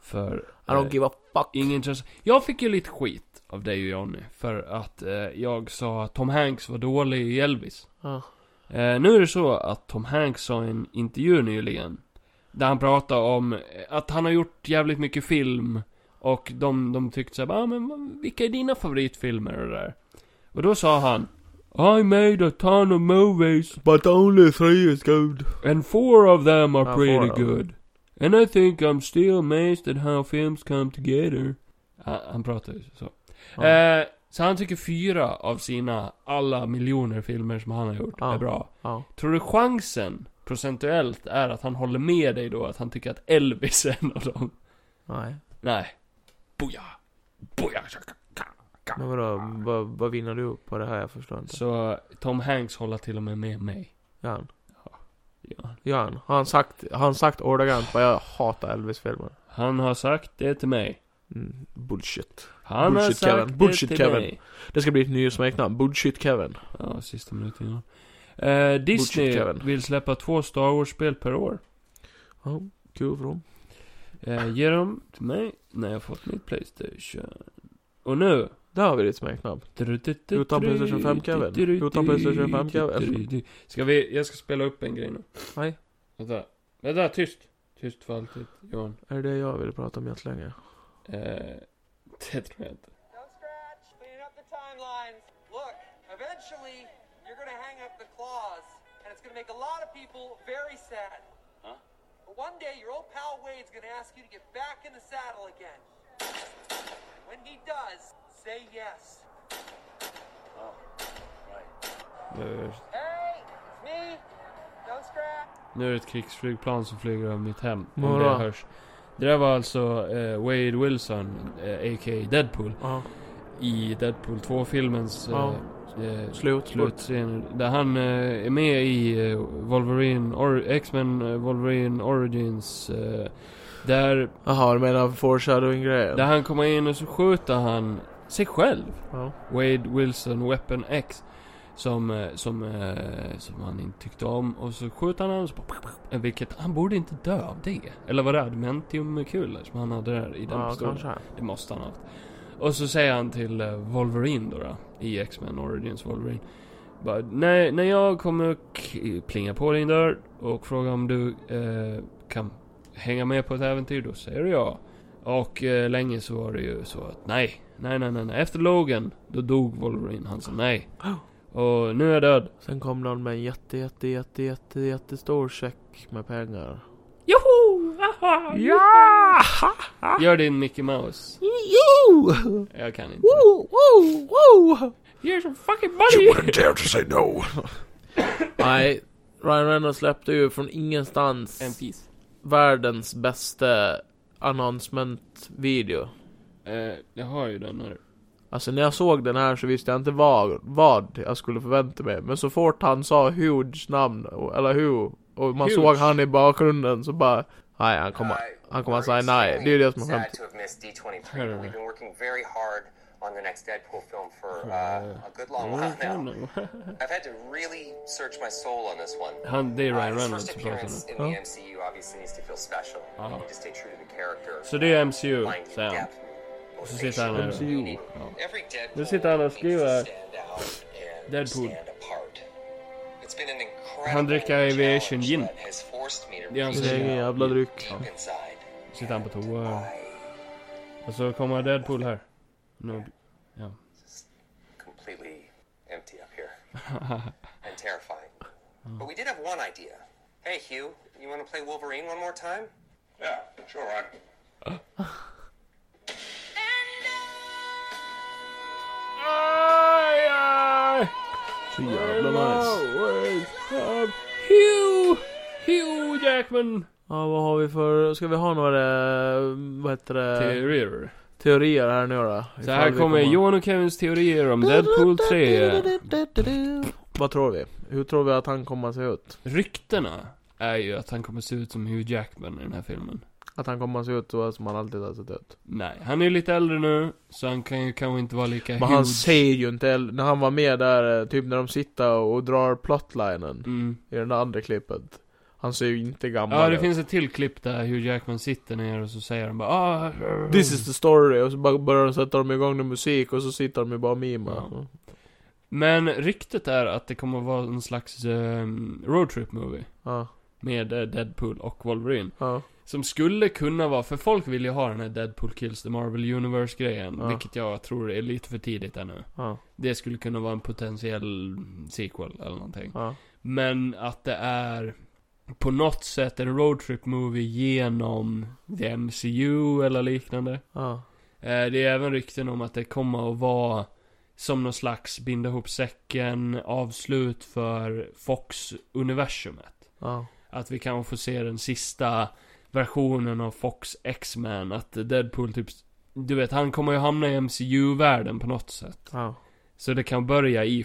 Speaker 4: för...
Speaker 3: I don't
Speaker 4: eh,
Speaker 3: give a fuck.
Speaker 4: Ingen intresse. Jag fick ju lite skit av dig och Johnny för att eh, jag sa att Tom Hanks var dålig i Elvis.
Speaker 3: Ja.
Speaker 4: Eh, nu är det så att Tom Hanks sa i en intervju nyligen där han pratade om eh, att han har gjort jävligt mycket film och de, de tyckte såhär, ah, men vad- vilka är dina favoritfilmer och det där? Och då sa han I made a ton of movies
Speaker 3: But only three is good.
Speaker 4: and four of them are
Speaker 3: Ja, Ah, four
Speaker 4: pretty
Speaker 3: of them.
Speaker 4: good. And I think I'm still amazed at how films come together. Han, han pratar ju så.
Speaker 3: Ja.
Speaker 4: Eh, så han tycker fyra av sina alla miljoner filmer som han har gjort
Speaker 3: Ja.
Speaker 4: är bra.
Speaker 3: Ja.
Speaker 4: Tror du chansen procentuellt är att han håller med dig då, att han tycker att Elvis är en av dem.
Speaker 3: Nej.
Speaker 4: Nej.
Speaker 2: Booyah! Booyah! shaka, ka, ka.
Speaker 3: Men vadå, vad, vad vinner du på det här? Jag förstår inte.
Speaker 4: Så Tom Hanks håller till och med med mig.
Speaker 3: Gör han?
Speaker 4: Ja.
Speaker 3: Gör han? Har han sagt, har han sagt ordagrant vad jag hatar Elvis-filmer?
Speaker 4: Han har sagt det till mig.
Speaker 3: Mm, bullshit.
Speaker 4: Han har
Speaker 3: Bullshit,
Speaker 4: sagt
Speaker 3: Kevin.
Speaker 4: det
Speaker 3: Bullshit,
Speaker 4: till
Speaker 3: Kevin.
Speaker 4: mig.
Speaker 3: Det ska bli ett nytt smeknamn. Bullshit Kevin.
Speaker 4: Ja, sista minuten innan. Eh, Disney
Speaker 3: Kevin.
Speaker 4: vill släppa två Star Wars-spel per år.
Speaker 3: Ja, kul för dem.
Speaker 4: Eh, ge dem till mig när jag fått mitt Playstation. Och nu.
Speaker 3: Där har vi ditt smeknamn. Utan PlayStation 5, Kevin. Utan PlayStation 5, Kevin.
Speaker 4: Ska vi, jag ska spela upp en grej nu.
Speaker 3: Nej.
Speaker 4: Vänta. Vänta, tyst. Tyst för alltid, Johan.
Speaker 3: Är det det jag ville prata om jättelänge?
Speaker 4: Eh, det tror jag inte.
Speaker 6: Don't scratch, clean up the timelines. Look, eventually you're gonna hang up the claws, and it's gonna make a lot of people very sad. Huh? But one day your old pal Wade's gonna ask you to get back in the saddle again. When he does, say yes.
Speaker 4: Nu,
Speaker 6: Hey, it's me. Don't scratch.
Speaker 4: nu är det ett krigsflygplan som flyger över mitt hem. Om det
Speaker 3: Vadå?
Speaker 4: hörs. Det där var alltså eh, Wade Wilson, eh, a.k.a. Deadpool.
Speaker 3: Ja.
Speaker 4: i Deadpool 2-filmens
Speaker 3: Ja.
Speaker 4: eh, eh,
Speaker 3: Slut. Slut.
Speaker 4: slutscen. Där han eh, är med i eh, Wolverine, or- X-Men eh, Wolverine Origins. Eh, där,
Speaker 3: Jaha, du menar foreshadowing-grejen?
Speaker 4: där han kommer in och så skjuter han sig själv.
Speaker 3: Ja.
Speaker 4: Wade Wilson, Weapon X. Som, eh, som, eh, som han inte tyckte om. Och så skjuter han honom och så bara, Vilket, han borde inte dö av det. Eller var det adamantiumkulor som han hade där i den
Speaker 3: Ja,
Speaker 4: pistolen?
Speaker 3: kanske.
Speaker 4: Det måste han ha haft. Och så säger han till eh, Wolverine då, då i X-Men Origins Wolverine. Bara, när, när jag kommer k- plinga på din dörr och fråga om du eh, kan hänga med på ett äventyr, då säger du ja. Och eh, länge så var det ju så att nej, nej, nej, nej, nej. Efter Logan, då dog Wolverine. Han sa nej. Och nu är jag död.
Speaker 3: Sen kom någon med en jätte, jätte, jätte, jätte, jättestor check med pengar.
Speaker 4: Joho! Aha!
Speaker 3: Ja!
Speaker 4: Gör din Mickey Mouse.
Speaker 3: Jo!
Speaker 4: Jag kan inte.
Speaker 3: Woo! Woo! Woo!
Speaker 4: Here's some fucking
Speaker 5: You
Speaker 4: money!
Speaker 5: wouldn't dare to say no.
Speaker 3: Nej, Ryan Reynolds släppte ju från ingenstans
Speaker 4: En fis.
Speaker 3: världens bästa announcement-video.
Speaker 4: Eh, jag har ju den här.
Speaker 3: Alltså när jag såg den här så visste jag inte vad, vad jag skulle förvänta mig. Men så fort han sa Huge namn, och- eller Who, och man
Speaker 4: Huge.
Speaker 3: såg han i bakgrunden så bara... Nej, han kommer, han kommer att säga nej. Det är ju det som är
Speaker 7: sad
Speaker 3: skämt.
Speaker 7: to have missed D23. but We've been working very hard on the next Deadpool film for uh, a good long while now. I've had to really search my soul on this one.
Speaker 4: Han, det är
Speaker 7: Uh,
Speaker 4: Ryan
Speaker 7: his
Speaker 4: Reynolds
Speaker 7: first
Speaker 4: som pratar nu.
Speaker 7: appearance in the MCU obviously needs to feel special.
Speaker 4: Oh.
Speaker 7: You need to stay true to the character.
Speaker 4: Så det är MCU,
Speaker 7: Mind
Speaker 4: säger han.
Speaker 7: depth,
Speaker 4: Så sitter han här.
Speaker 7: motivation, meaning.
Speaker 4: Oh.
Speaker 7: Every Deadpool
Speaker 4: Nu sitter han och
Speaker 7: needs to
Speaker 4: skriver
Speaker 7: stand out and
Speaker 4: Deadpool.
Speaker 7: stand apart. It's been an incredible
Speaker 4: Han dricker Aviation
Speaker 7: challenge
Speaker 4: gin.
Speaker 7: that has forced me to
Speaker 4: Det är hans
Speaker 7: reach
Speaker 3: egen
Speaker 7: out
Speaker 3: jävla dryck.
Speaker 7: deep inside.
Speaker 4: (laughs) Sitter han på toa.
Speaker 7: I
Speaker 4: Och så kommer Deadpool här. Nu,
Speaker 7: completely empty up here and terrifying. But we did have one idea. Hey, Hugh, you want to play Wolverine one more time? Yeah, sure, Ryan.
Speaker 4: aj, aj!
Speaker 3: Så jävla nice.
Speaker 4: Hugh! Hugh Jackman!
Speaker 3: Ja, vad har vi för... Ska vi ha några, eh, vad heter det,
Speaker 4: Teorier.
Speaker 3: teorier här nu då?
Speaker 4: Så
Speaker 3: Ifall
Speaker 4: här
Speaker 3: vi
Speaker 4: kommer Johan och Kevins teorier om Deadpool 3.
Speaker 3: Vad tror vi? Hur tror vi att han kommer att se ut?
Speaker 4: Ryktena är ju att han kommer se ut som Hugh Jackman i den här filmen.
Speaker 3: Att han kommer att se ut så som han alltid har sett ut?
Speaker 4: Nej, han är ju lite äldre nu, så han kan ju kanske inte vara lika
Speaker 3: Men han
Speaker 4: huge.
Speaker 3: ser ju inte, el- när han var med där, eh, typ när de sitter och drar plotlinen
Speaker 4: Mm.
Speaker 3: i det där andra klippet. Han ser ju inte gammal
Speaker 4: Ja, det
Speaker 3: ut.
Speaker 4: finns ett till klipp där Hugh Jackman sitter ner och så säger han bara ah,
Speaker 3: This is the story, och så bara börjar de sätta dem igång med musik och så sitter de ju bara och mimar.
Speaker 4: Ja. Men ryktet är att det kommer att vara en slags um, roadtrip movie.
Speaker 3: Ja,
Speaker 4: Med eh, Deadpool och Wolverine.
Speaker 3: ja.
Speaker 4: Som skulle kunna vara, för folk vill ju ha den här Deadpool Kills the Marvel Universe grejen.
Speaker 3: Ja.
Speaker 4: Vilket jag tror är lite för tidigt ännu.
Speaker 3: Ja.
Speaker 4: Det skulle kunna vara en potentiell sequel eller någonting.
Speaker 3: ja.
Speaker 4: Men att det är på något sätt en roadtrip movie genom the MCU eller liknande.
Speaker 3: ja.
Speaker 4: Eh, Det är även rykten om att det kommer att vara som någon slags binda ihop säcken avslut för Fox-universumet.
Speaker 3: ja.
Speaker 4: att vi kanske får se den sista versionen av Fox X-Men. Att Deadpool typ, du vet, han kommer ju hamna i MCU-världen på något sätt.
Speaker 3: Ja.
Speaker 4: Så det kan börja i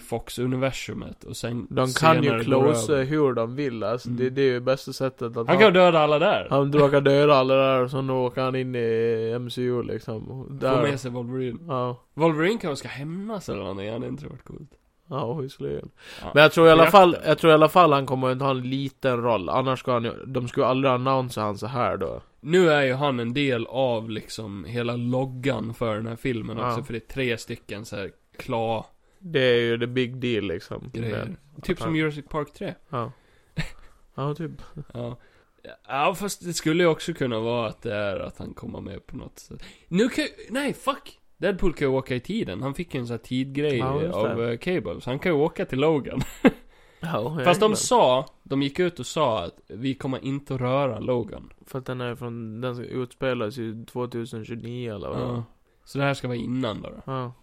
Speaker 4: Fox-universumet och sen
Speaker 3: De kan
Speaker 4: senare
Speaker 3: ju
Speaker 4: gå
Speaker 3: close
Speaker 4: över. Mm.
Speaker 3: hur de vill alltså. det, det är ju bästa sättet att
Speaker 4: Han kan döda alla där.
Speaker 3: han råkar döda alla där och sen åker han in i MCU liksom. Och
Speaker 4: Få
Speaker 3: Där.
Speaker 4: med sig Wolverine.
Speaker 3: Ja.
Speaker 4: Wolverine kanske ska hämnas eller någonting, han är inte varit coolt.
Speaker 3: Ja, visserligen.
Speaker 4: Ja,
Speaker 3: Men jag tror i alla
Speaker 4: berätta.
Speaker 3: fall, jag tror i alla fall han kommer att ha en liten roll. Annars ska han ju, de skulle aldrig annonsera han så här då.
Speaker 4: Nu är ju han en del av liksom hela loggan för den här filmen
Speaker 3: Ja.
Speaker 4: också, för det är tre stycken så här kla-grejer.
Speaker 3: Det är ju the big deal liksom. Men,
Speaker 4: Typ som
Speaker 3: han-
Speaker 4: Jurassic Park 3. (laughs)
Speaker 3: ja. Ja, typ.
Speaker 4: Ja. Ja, fast det skulle ju också kunna vara att det är att han kommer med på något sätt. Nu kan ju, nej, fuck! Deadpool kan ju åka i tiden. Han fick ju en sån här tidgrej
Speaker 3: Ja, just
Speaker 4: av
Speaker 3: det.
Speaker 4: eh, Cable, så han kan ju åka till Logan.
Speaker 3: Ja,
Speaker 4: Fast de
Speaker 3: jajamän.
Speaker 4: sa, de gick ut och sa att vi kommer inte att röra Logan.
Speaker 3: För att den är från, den utspelas ju 2029 eller vad det var.
Speaker 4: Ja. Så det här ska vara innan då. då.
Speaker 3: ja.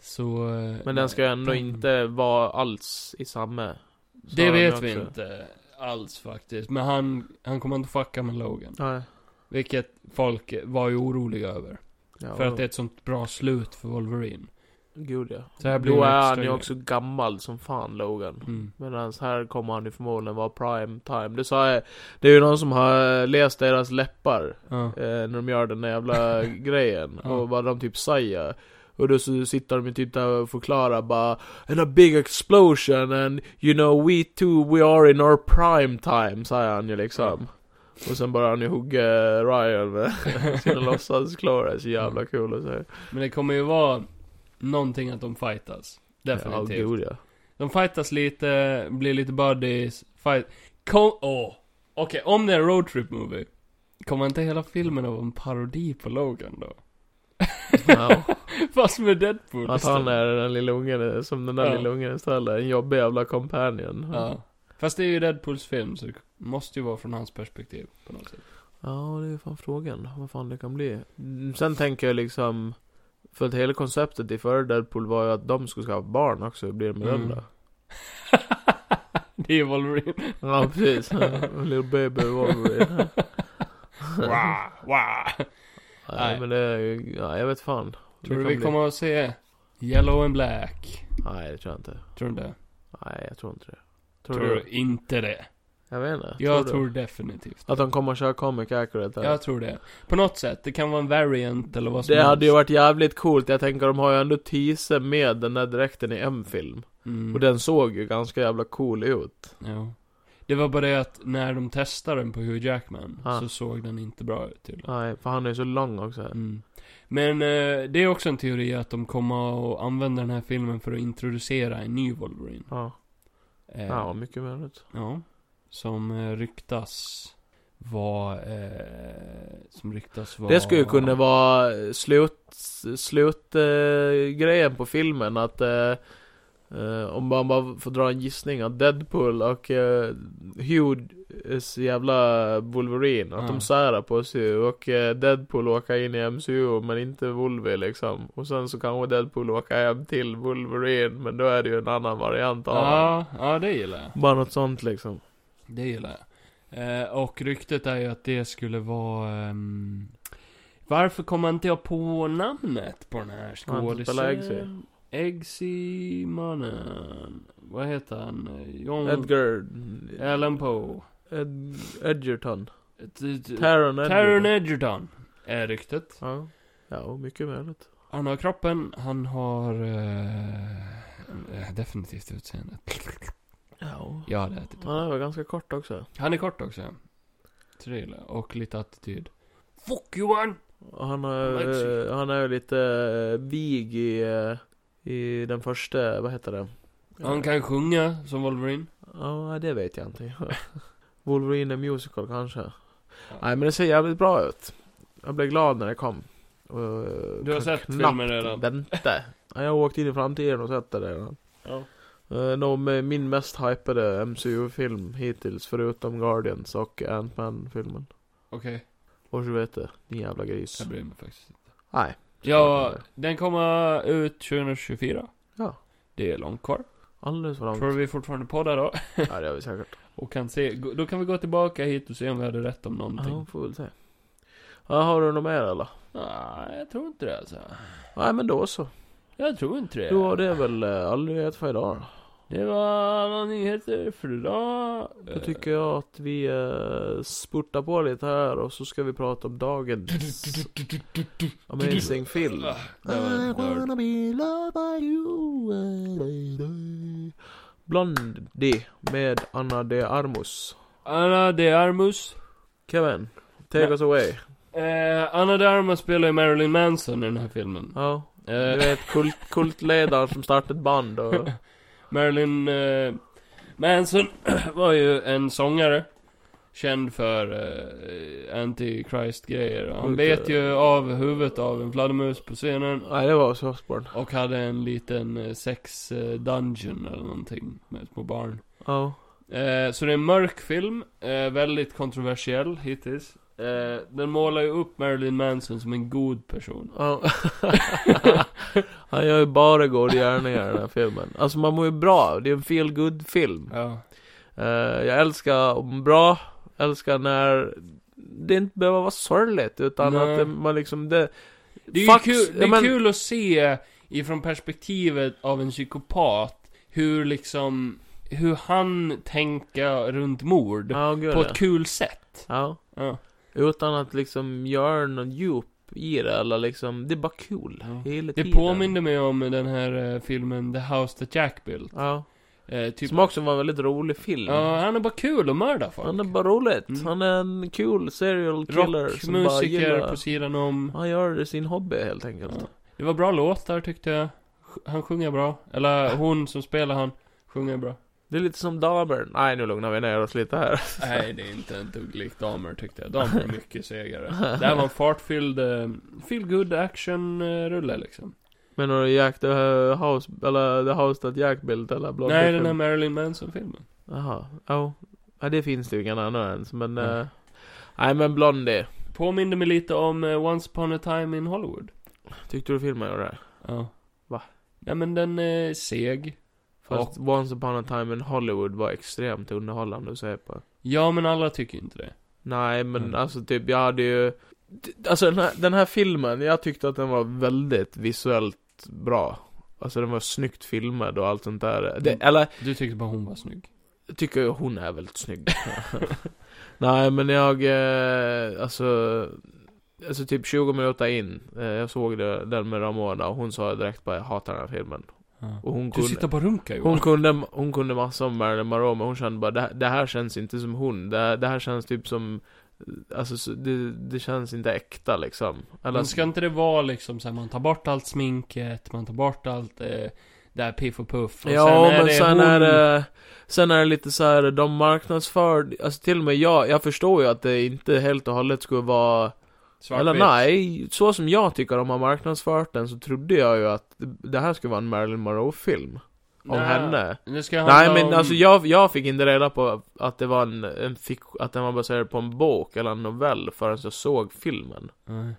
Speaker 4: Så... eh,
Speaker 3: Men den ska ändå
Speaker 4: den-
Speaker 3: inte vara alls i samma. sa
Speaker 4: Det
Speaker 3: de
Speaker 4: vet
Speaker 3: också.
Speaker 4: vi inte alls faktiskt. Men han, han kommer inte fucka med Logan.
Speaker 3: Nej.
Speaker 4: Vilket folk var ju oroliga över.
Speaker 3: Ja,
Speaker 4: För att det är ett sånt bra slut för Wolverine.
Speaker 3: Gud ja.
Speaker 4: Så här blir
Speaker 3: Då
Speaker 4: det en
Speaker 3: är
Speaker 4: extra
Speaker 3: han ju
Speaker 4: grej.
Speaker 3: också gammal som fan, Logan.
Speaker 4: Mm.
Speaker 3: Medan här kommer han ju förmodligen vara prime time. Det sa jag, det är ju någon som har läst deras läppar
Speaker 4: Ja.
Speaker 3: eh, när de gör den
Speaker 4: (laughs)
Speaker 3: där jävla grejen.
Speaker 4: Ja.
Speaker 3: Och vad de typ säger. Och då så sitter de ju typ där och förklarar bara And a big explosion and you know we too we are in our prime time säger han ju liksom. Och sen börjar han ju hugga Ryan med
Speaker 4: (laughs)
Speaker 3: sina låtsasklar. Det är så jävla kul att se.
Speaker 4: Men det kommer ju vara någonting att de fightas.
Speaker 3: Ja,
Speaker 4: Definitivt.
Speaker 3: gud ja.
Speaker 4: de fightas lite, blir lite buddies, fight... Kom... Åh! Okej, om det är en roadtrip movie. Kommer inte hela filmen att vara en parodi på Logan då? (laughs)
Speaker 3: Ja.
Speaker 4: Fast med Deadpool
Speaker 3: Att han
Speaker 4: istället.
Speaker 3: är den lilla ungen, som den där
Speaker 4: Ja.
Speaker 3: lilla ungen istället. En jobbig jävla companion.
Speaker 4: Ja. Fast det är ju Deadpools film, så det måste ju vara från hans perspektiv på något sätt.
Speaker 3: Ja, det är fan frågan. Vad fan det kan bli. Mm, Sen tänker jag liksom... För att hela konceptet i förra Deadpool var ju att de skulle skaffa barn också och bli de
Speaker 4: Mm.
Speaker 3: mm.
Speaker 4: det är Wolverine.
Speaker 3: Ja,
Speaker 4: (laughs)
Speaker 3: precis. Little baby Wolverine.
Speaker 1: Wow, wow.
Speaker 3: Nej,
Speaker 4: Nej.
Speaker 3: men det är ju... Ja, jag vet fan. Det
Speaker 4: Tror du
Speaker 3: kan
Speaker 4: vi
Speaker 3: bli-
Speaker 4: kommer att se Yellow and Black?
Speaker 3: Nej, det tror jag inte.
Speaker 4: Tror du det?
Speaker 3: Nej, jag tror inte det. Tror,
Speaker 4: Tror
Speaker 3: du?
Speaker 4: du inte det?
Speaker 3: Jag vet inte.
Speaker 4: Jag
Speaker 3: du?
Speaker 4: tror definitivt
Speaker 3: Att de kommer att köra Comic Accurate här.
Speaker 4: Jag tror det. På något sätt. Det kan vara en variant eller vad som
Speaker 3: Det
Speaker 4: helst.
Speaker 3: hade ju varit jävligt coolt. Jag tänker de har ju ändå teaser med den där dräkten i en film.
Speaker 4: Mm.
Speaker 3: Och den såg ju ganska jävla cool ut.
Speaker 4: Ja. Det var bara det att när de testade den på Hugh Jackman
Speaker 3: Ah.
Speaker 4: så såg den inte bra ut tydligen.
Speaker 3: Nej, för han är ju så lång också.
Speaker 4: Mm. Men eh, det är också en teori att de kommer att använda den här filmen för att introducera en ny Wolverine.
Speaker 3: Ja,
Speaker 4: Eh,
Speaker 3: ja mycket möjligt.
Speaker 4: Ja. Som eh, ryktas vara... Eh, som ryktas vara...
Speaker 3: Det skulle ju kunna vara slut, slut eh, grejen på filmen att eh, eh, om man bara får dra en gissning att Deadpool och eh, Hughes jävla Wolverine, att
Speaker 4: Ja.
Speaker 3: de särar på sig och eh, Deadpool åker in i MCU men inte Wolverine liksom. Och sen så kanske Deadpool åker hem till Wolverine men då är det ju en annan variant av honom.
Speaker 4: Ja, ja, det gillar jag.
Speaker 3: Bara något sånt liksom.
Speaker 4: Det gillar jag. Eh, och ryktet är ju att det skulle vara... ehm, varför kommer inte jag på namnet på den här
Speaker 3: Han som spelar Eggsy.
Speaker 4: skådisen? Eggsy-mannen. Vad heter han? John...
Speaker 3: Edgar...
Speaker 4: Allan Mm. Poe.
Speaker 3: Ed, Edgerton.
Speaker 4: T- t-
Speaker 3: Taron Edgerton.
Speaker 4: Taron Edgerton. Är ryktet.
Speaker 3: Ja. Ja, och mycket möjligt.
Speaker 4: Han har kroppen, han har... eh, eh, definitivt utseendet.
Speaker 3: Ja.
Speaker 4: Jag hade ätit upp.
Speaker 3: Han är väl ganska kort också.
Speaker 4: typ. Han är kort också. Så det gillar jag. Och lite attityd. Fuck Johan!
Speaker 3: Och han har
Speaker 4: Like
Speaker 3: ju, han är ju lite eh, vig i, eh, i den första, vad heter det?
Speaker 4: Han kan sjunga som Wolverine.
Speaker 3: Ja, det vet jag inte. (laughs) Wolverine the Musical kanske. Nej, men det ser jävligt bra ut. Jag blev glad när det kom. Och eh,
Speaker 4: Du har
Speaker 3: kan
Speaker 4: sett
Speaker 3: knappt
Speaker 4: filmen redan. (laughs)
Speaker 3: Vänta. Ja, jag har åkt in i framtiden och sett det redan.
Speaker 4: Ja.
Speaker 3: Eh, De, eh, min mest hypade MCU-film hittills, förutom Guardians och Ant-Man-filmen.
Speaker 4: Okej,
Speaker 3: Och så vet du, din jävla gris.
Speaker 4: jag bryr mig faktiskt inte.
Speaker 3: Nej.
Speaker 4: Ja, den kommer ut 2024.
Speaker 3: Ja.
Speaker 4: Det är långt kvar.
Speaker 3: Alldeles för
Speaker 4: Tror
Speaker 3: långt.
Speaker 4: du vi fortfarande poddar då?
Speaker 3: Ja, det har vi säkert.
Speaker 4: Och kan se, gå- då kan vi gå tillbaka hit och se om vi hade rätt om någonting.
Speaker 3: Ja, får väl se. Ja, har du något mer eller?
Speaker 4: Nej, jag tror inte det alltså.
Speaker 3: Nej, men då så.
Speaker 4: Jag tror inte det.
Speaker 3: Då var det väl eh, all nyhet för idag då.
Speaker 4: Det var alla nyheter för idag.
Speaker 3: Då tycker jag att vi eh, spurtar på lite här och så ska vi prata om dagens
Speaker 2: (laughs)
Speaker 3: amazing film.
Speaker 4: Ah, Det var en nörd.
Speaker 3: be loved by you. Blondie med Anna de Armus.
Speaker 4: Anna de Armus.
Speaker 3: Kevin, take
Speaker 4: Ja.
Speaker 3: us away.
Speaker 4: Eh, Anna de Armus spelar ju Marilyn Manson i den här filmen.
Speaker 3: Ja, du
Speaker 4: Eh,
Speaker 3: vet kult, kultledaren som startade ett
Speaker 4: (laughs)
Speaker 3: band och...
Speaker 4: Marilyn eh, Manson (clears throat) var ju en sångare. Känd för eh, Antichrist-grejer. Och Han
Speaker 3: Sjukt,
Speaker 4: bet
Speaker 3: eh.
Speaker 4: ju av huvudet av en fladdermus på scenen.
Speaker 3: Nej, det var Osbourne.
Speaker 4: Och hade en liten eh, sex eh, dungeon eller någonting med små barn.
Speaker 3: Ja.
Speaker 4: Eh, så det är en mörk film, eh, väldigt kontroversiell hittills. Eh, den målar ju upp Marilyn Manson som en god person.
Speaker 3: Ja. (laughs) Han gör ju bara goda gärningar i den här filmen. Alltså man mår ju bra, det är en feel good film
Speaker 4: Ja.
Speaker 3: Eh, Jag älskar om bra, älskar när det inte behöver vara sorgligt utan
Speaker 4: Nej.
Speaker 3: att det, man liksom det...
Speaker 4: Det är ju
Speaker 3: Fuck-
Speaker 4: kul, det
Speaker 3: ja,
Speaker 4: är
Speaker 3: men-
Speaker 4: kul att se ifrån perspektivet av en psykopat hur liksom, hur han tänker runt mord.
Speaker 3: Ja, gud,
Speaker 4: på
Speaker 3: ja.
Speaker 4: ett kul sätt.
Speaker 3: ja.
Speaker 4: Ja.
Speaker 3: Utan att liksom göra någon djup i det eller liksom, det är bara kul
Speaker 4: Ja.
Speaker 3: hela
Speaker 4: Det
Speaker 3: tiden.
Speaker 4: påminner mig om den här eh, filmen The House That Jack Built.
Speaker 3: Ja.
Speaker 4: Eh, typ,
Speaker 3: Som också var en väldigt rolig film.
Speaker 4: ja, han är bara kul och mördar folk.
Speaker 3: Han är bara roligt.
Speaker 4: Mm.
Speaker 3: Han är en cool serial killer som bara
Speaker 4: Rockmusiker
Speaker 3: gillar...
Speaker 4: på sidan om.
Speaker 3: Han gör det sin hobby helt enkelt.
Speaker 4: Ja. Det var bra låtar tyckte jag. Sj- Han sjunger bra. Eller hon som spelar han sjunger bra.
Speaker 3: Det är lite som Dahmer. Nej, nu lugnar vi ner oss lite här. (laughs)
Speaker 4: Nej, det är inte en dugg likt damer tyckte jag. Damer är mycket segare. Det här var en fartfylld, eh, feel good action eh, rulle liksom.
Speaker 3: Men har du Jack the eh, House, eller The House That Jack Built eller Blondie
Speaker 4: Nej,
Speaker 3: Film?
Speaker 4: den här Marilyn Manson-filmen.
Speaker 3: Jaha, ja. Ja, det finns det ju ingen annan ens, men...
Speaker 4: Mm.
Speaker 3: eh, nej, men Blondie.
Speaker 4: Påminner mig lite om eh, Once upon a time in Hollywood.
Speaker 3: Tyckte du filmen gjorde det?
Speaker 4: Ja.
Speaker 3: Va?
Speaker 4: Nej men den är seg.
Speaker 3: eh, Fast Once upon a time in Hollywood var extremt underhållande att se på.
Speaker 4: Ja men alla tycker inte det.
Speaker 3: Nej, men
Speaker 4: Mm.
Speaker 3: alltså typ, jag hade ju... D- Alltså den här, den här filmen, jag tyckte att den var väldigt visuellt bra. Alltså den var snyggt filmad och allt sånt där. Det,
Speaker 4: Mm.
Speaker 3: eller,
Speaker 4: Du tyckte bara hon var snygg.
Speaker 3: Jag tycker ju hon är väldigt snygg. (laughs) Nej men jag, eh, alltså, alltså typ 20 minuter in, eh, jag såg det, den med Ramona och hon sa direkt bara jag hatar den här filmen. Och hon
Speaker 4: Du
Speaker 3: kunde,
Speaker 4: sitter bara och runkar Johan.
Speaker 3: hon kunde, hon kunde massa om Marilyn Monroe men hon kände bara det, här- det här känns inte som hon, det, här- det här känns typ som, alltså så- det, det känns inte äkta liksom. Eller,
Speaker 4: Men ska inte det vara liksom så här, man tar bort allt sminket, man tar bort allt eh, där piff och puff och
Speaker 3: Ja,
Speaker 4: sen är
Speaker 3: men
Speaker 4: det
Speaker 3: sen
Speaker 4: hon...
Speaker 3: är det... Sen är det lite så här, de marknadsför... Alltså till och med jag, jag förstår ju att det inte helt och hållet skulle vara...
Speaker 4: svartvitt.
Speaker 3: Eller nej, så som jag tycker de har marknadsfört den så trodde jag ju att det här skulle vara en Marilyn Monroe-film. Om
Speaker 4: Nej,
Speaker 3: henne.
Speaker 4: Det ska handla
Speaker 3: Nej men
Speaker 4: om...
Speaker 3: alltså jag, jag fick inte reda på att det var en, en fik, att den var baserad på en bok eller en novell förrän jag såg filmen.
Speaker 4: Nej.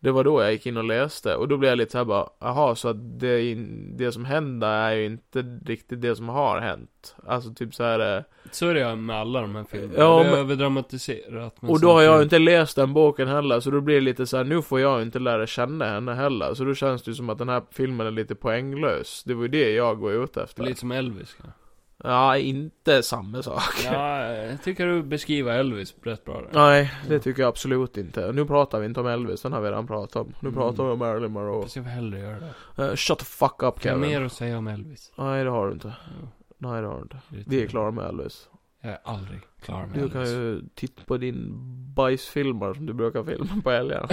Speaker 3: Det var då jag gick in och läste och då blev jag lite såhär bara, jaha så att det, är in- det som händer är ju inte riktigt det som har hänt. Alltså typ så här. eh,
Speaker 4: Så är det med alla de här filmerna.
Speaker 3: Ja,
Speaker 4: det är
Speaker 3: men-
Speaker 4: överdramatiserat. men
Speaker 3: Och då har jag ju
Speaker 4: samtidigt-
Speaker 3: inte läst den boken heller så då blir det lite så här: nu får jag ju inte lära känna henne heller. Så då känns det ju som att den här filmen är lite poänglös. Det var ju det jag går ut efter.
Speaker 4: Lite som Elvis
Speaker 3: (laughs)
Speaker 4: kanske.
Speaker 3: Ja, inte samma sak.
Speaker 4: Ja, jag tycker du beskriver Elvis rätt bra där.
Speaker 3: Nej, det tycker jag absolut inte. Nu pratar vi inte om Elvis, den har vi redan pratat om. Nu
Speaker 4: Mm.
Speaker 3: pratar vi om Marilyn Monroe.
Speaker 4: Fast jag vill hellre göra det.
Speaker 3: Eh, shut the fuck up
Speaker 4: Jag har
Speaker 3: Kevin.
Speaker 4: mer Mm. att säga om Elvis.
Speaker 3: Nej, det har du inte.
Speaker 4: Jo,
Speaker 3: Nej, det har du inte.
Speaker 4: det
Speaker 3: Vi är
Speaker 4: tur.
Speaker 3: klara med Elvis.
Speaker 4: Jag är aldrig klar med
Speaker 3: Du
Speaker 4: Elvis.
Speaker 3: kan ju titta på din bajsfilmer som du brukar filma
Speaker 4: (laughs)
Speaker 3: på helgerna.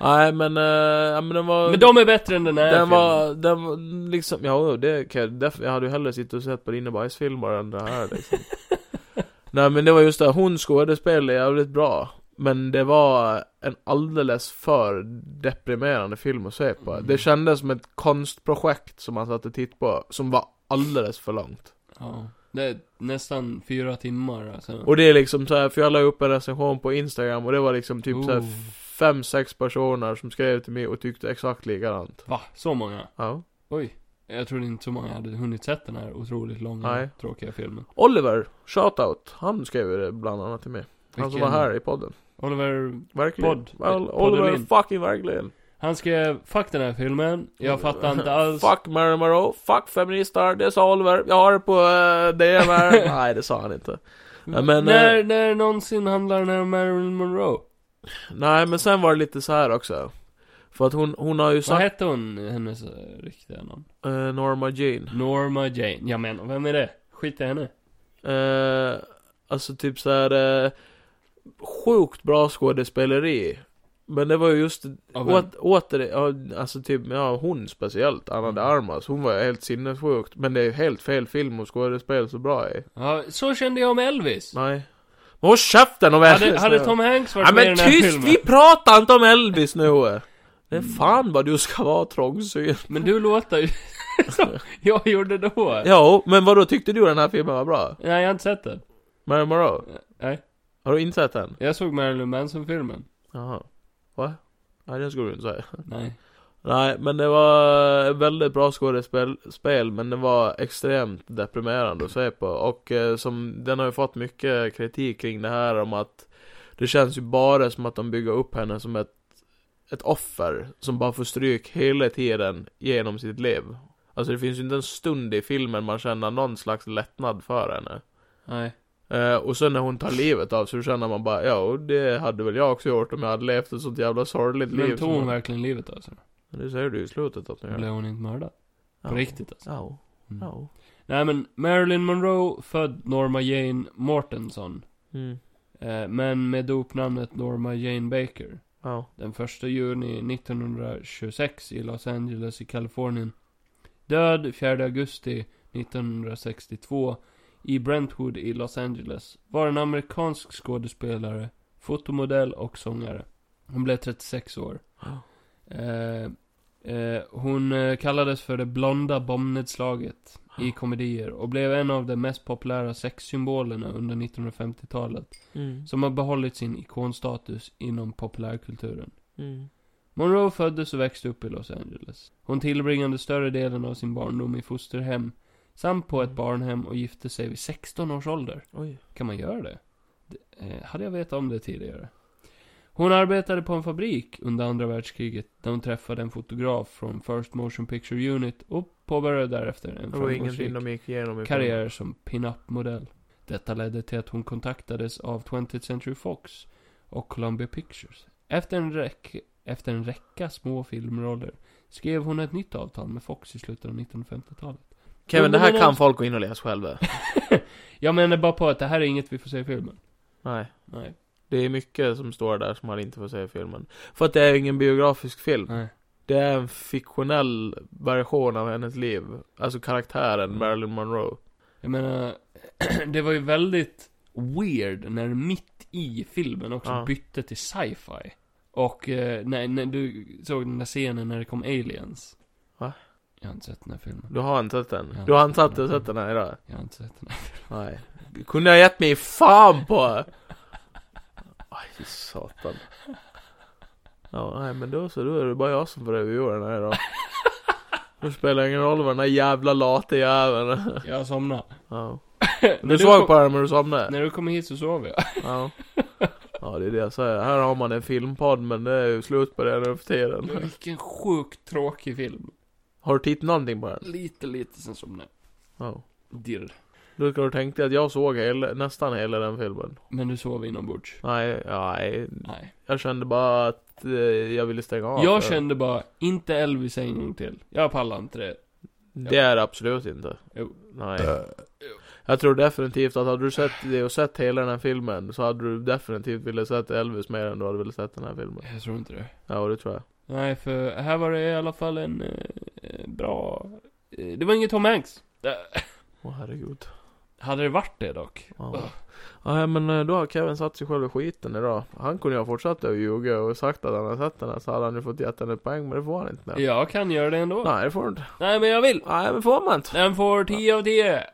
Speaker 3: Nej men, eh, ja, men den var...
Speaker 4: Men de är bättre än den här
Speaker 3: den
Speaker 4: filmen.
Speaker 3: var, den var liksom, ja det kan jag def- Jag hade ju hellre suttit och sett på dina bajsfilmer än det här liksom. Nej men det var just det, hon skådespelade jävligt bra. Men det var en alldeles för deprimerande film att se på. Det kändes som ett konstprojekt som man satt och tittade på, som var alldeles för långt.
Speaker 4: Ja. Det är nästan fyra timmar alltså.
Speaker 3: Och det är liksom så här, för jag la upp en recension på Instagram och det var liksom typ så här
Speaker 4: Oh.
Speaker 3: fem, sex personer som skrev till mig och tyckte exakt likadant.
Speaker 4: Va? Så många?
Speaker 3: Ja.
Speaker 4: Oj. Jag tror inte så många hade hunnit sett den här otroligt långa,
Speaker 3: Nej.
Speaker 4: tråkiga filmen.
Speaker 3: Oliver, shoutout. Han skrev ju det bland annat till mig. Han som var
Speaker 4: Vilken-
Speaker 3: Alltså, här i podden.
Speaker 4: Oliver,
Speaker 3: Verkligen.
Speaker 4: Podd.
Speaker 3: Well,
Speaker 4: Podd
Speaker 3: Oliver
Speaker 4: Olin.
Speaker 3: fucking verkligen.
Speaker 4: han skrev 'Fuck den här filmen' Jag fattar
Speaker 3: (laughs)
Speaker 4: inte alls.
Speaker 3: Fuck Mary Moreau, fuck feminister, det sa Oliver. Jag har det på uh,
Speaker 4: (laughs)
Speaker 3: DM här. Nej, det sa han inte. Nej, Men,
Speaker 4: när,
Speaker 3: eh,
Speaker 4: när någonsin handlar den här om Marilyn Monroe?
Speaker 3: nej, men sen var det lite så här också. För att hon, hon har ju
Speaker 4: Vad
Speaker 3: sagt
Speaker 4: hette hon, hennes eh, riktiga namn?
Speaker 3: eh, Norma Jean.
Speaker 4: Norma Jane. Ja men, vem är det? Skit i henne.
Speaker 3: Eh, alltså typ så här eh, sjukt bra skådespeleri. Men det var ju just
Speaker 4: Ja, vem?
Speaker 3: åt, åter, ja, alltså typ, ja hon speciellt, Anna
Speaker 4: Mm.
Speaker 3: de Armas, hon var helt sinnessjukt. Men det är ju helt fel film och skådespel så bra i.
Speaker 4: Ja, så kände jag om Elvis.
Speaker 3: Nej. Men håll käften om Elvis
Speaker 4: Hade, hade
Speaker 3: nu.
Speaker 4: Tom Hanks varit
Speaker 3: Ja
Speaker 4: med i den
Speaker 3: men
Speaker 4: här
Speaker 3: tyst,
Speaker 4: filmen?
Speaker 3: vi pratar inte om
Speaker 4: (laughs)
Speaker 3: Elvis nu! Det är fan vad du ska vara trångsynt.
Speaker 4: Men du låter ju (laughs) som jag gjorde då.
Speaker 3: Jo, men vad då tyckte du den här filmen var bra?
Speaker 4: Nej, jag har inte sett den.
Speaker 3: Mary Moreau?
Speaker 4: Nej.
Speaker 3: Har du inte sett den?
Speaker 4: Jag såg Marilyn Manson-filmen.
Speaker 3: Jaha. Va? Nej, den skulle du inte säga.
Speaker 4: Nej.
Speaker 3: Nej, men det var väldigt bra skådespel, spel, men det var extremt deprimerande att se på. Och eh, som, den har ju fått mycket kritik kring det här om att det känns ju bara som att de bygger upp henne som ett, ett offer som bara får stryk hela tiden genom sitt liv. Alltså det finns ju inte en stund i filmen man känner någon slags lättnad för henne.
Speaker 4: Nej.
Speaker 3: Eh, och sen när hon tar livet av sig så känner man bara, ja och det hade väl jag också gjort om jag hade levt ett sånt jävla sorgligt liv.
Speaker 4: Men tog
Speaker 3: som
Speaker 4: hon
Speaker 3: jag-"
Speaker 4: verkligen livet alltså?
Speaker 3: Det säger du i slutet att ni gör.
Speaker 4: Blev hon inte mördad? På
Speaker 3: Ja.
Speaker 4: riktigt alltså?
Speaker 3: Ja.
Speaker 4: Mm.
Speaker 3: Ja.
Speaker 4: Nej men, Marilyn Monroe född Norma Jane Mortenson.
Speaker 3: Mm.
Speaker 4: Eh, men med dopnamnet Norma Jane Baker.
Speaker 3: Ja.
Speaker 4: Den 1 juni 1926 i Los Angeles i Kalifornien. Död 4 augusti 1962 i Brentwood i Los Angeles. Var en amerikansk skådespelare, fotomodell och sångare. Hon blev 36 år.
Speaker 3: Ja.
Speaker 4: Eh, eh, hon eh, kallades för det blonda bombnedslaget i komedier och blev en av de mest populära sexsymbolerna under 1950-talet
Speaker 3: Mm.
Speaker 4: som har behållit sin ikonstatus inom populärkulturen.
Speaker 3: Mm.
Speaker 4: Monroe föddes och växte upp i Los Angeles. Hon tillbringade större delen av sin barndom i fosterhem samt på ett barnhem och gifte sig vid 16 års ålder.
Speaker 3: Oj.
Speaker 4: Kan man göra det? det eh, hade jag vetat om det tidigare? Hon arbetade på en fabrik under andra världskriget där hon träffade en fotograf från First Motion Picture Unit och påbörjade därefter en
Speaker 3: Det var ingenting
Speaker 4: framgångsrik
Speaker 3: de gick igenom i
Speaker 4: karriär som pin-up-modell. Detta ledde till att hon kontaktades av 20th Century Fox och Columbia Pictures. Efter en, räck, efter en räcka små filmroller skrev hon ett nytt avtal med Fox i slutet av 1950-talet.
Speaker 3: Kevin, det
Speaker 4: Men-
Speaker 3: här
Speaker 4: men-
Speaker 3: kan folk gå in och läsa själva.
Speaker 4: Jag menar bara på att det här är inget vi får se i filmen.
Speaker 3: Nej.
Speaker 4: Nej.
Speaker 3: Det är mycket som står där som man inte får se i filmen. För att det är ingen biografisk film.
Speaker 4: Nej.
Speaker 3: Det är en fiktionell version av hennes liv. Alltså
Speaker 4: Mm.
Speaker 3: karaktären Marilyn Monroe.
Speaker 4: Jag menar, (clears throat) det var ju väldigt weird när mitt i filmen också
Speaker 3: Ja.
Speaker 4: bytte till sci-fi. Och eh, när, när du såg den där scenen när det kom aliens.
Speaker 3: Va?
Speaker 4: Jag har inte sett den här filmen.
Speaker 3: Du har inte sett den?
Speaker 4: Ja.
Speaker 3: Du har inte sett, sett den här idag?
Speaker 4: Jag har inte sett den.
Speaker 3: Nej. Det kunde jag gett mig fan på! Aj, satan. Ja, nej men då så, då är det bara jag som får övergöra den här idag. Då spelar det ingen roll vad den här jävla late jäveln
Speaker 4: Jag somnade.
Speaker 3: ja.
Speaker 4: När
Speaker 3: Du såg
Speaker 4: kom-
Speaker 3: på den men du somnade?
Speaker 4: När du kom hit så sov jag.
Speaker 3: Ja. Ja, det är det jag säger. Här har man en filmpodd men det är ju slut på det nu för tiden.
Speaker 4: (laughs) Vilken sjukt tråkig film.
Speaker 3: Har du tittat någonting på den?
Speaker 4: Lite, lite sen somnade
Speaker 3: Ja.
Speaker 4: jag. Dirr.
Speaker 3: Då ska du tänka dig att jag såg hela, nästan hela den filmen.
Speaker 4: Men du sov inombords?
Speaker 3: Nej, nej.
Speaker 4: Nej.
Speaker 3: Jag kände bara att eh, jag ville stänga av.
Speaker 4: jag
Speaker 3: för-
Speaker 4: kände bara, inte Elvis en gång till. Jag pallar inte det.
Speaker 3: Det är det absolut inte.
Speaker 4: Jo.
Speaker 3: Nej. Jag tror definitivt att hade du sett det och sett hela den här filmen så hade du definitivt velat sett Elvis mer än du hade velat sett den här filmen.
Speaker 4: Jag tror inte det.
Speaker 3: Ja, det tror jag.
Speaker 4: Nej, för här var det i alla fall en eh, eh, bra... Eh, det var inget Tom Hanks. Eh,
Speaker 3: Åh herregud.
Speaker 4: Hade det varit det dock?
Speaker 3: Ja. ja, men eh, då har Kevin satt sig själv i skiten idag. Han kunde ju ha fortsatt att ljuga och sagt att han har sett den här så hade han ju fått gett henne ett poäng, men det får han inte nu.
Speaker 4: Jag kan göra det ändå.
Speaker 3: Nej, det får du inte.
Speaker 4: Nej, men jag vill.
Speaker 3: Nej, men får man inte.
Speaker 4: Den får 10 av 10. 10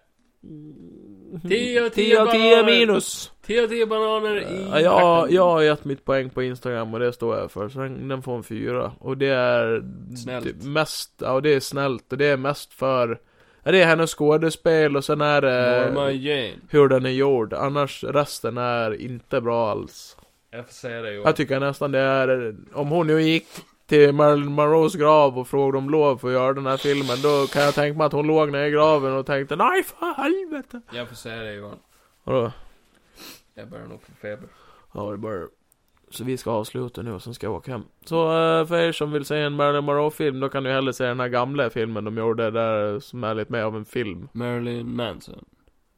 Speaker 4: av 10
Speaker 3: 10 Mm. av 10
Speaker 4: ballader.
Speaker 3: minus.
Speaker 4: THT-bananer i
Speaker 3: Ja, jag,
Speaker 4: stjärten.
Speaker 3: jag har gett mitt poäng på Instagram och det står jag för, så den, den får en fyra. Och det är
Speaker 4: Snällt.
Speaker 3: typ mest, ja och det är snällt och det är mest för, ja, det är hennes skådespel och sen är det
Speaker 4: Norma Jane.
Speaker 3: hur den är gjord. Annars resten är inte bra alls.
Speaker 4: Jag får säga det Johan.
Speaker 3: Jag tycker nästan det är, om hon nu gick till Marilyn Monroes grav och frågade om lov för att göra den här filmen, då kan jag tänka mig att hon låg nere i graven och tänkte nej för helvete.
Speaker 4: Jag får säga det Johan.
Speaker 3: Och då,
Speaker 4: Jag börjar nog få feber.
Speaker 3: Ja, det börjar Så vi ska avsluta nu och sen ska jag åka hem. Så eh, för er som vill se en Marilyn Monroe-film, då kan ni hellre se den här gamla filmen de gjorde där, som är lite mer av en film.
Speaker 4: Marilyn Manson.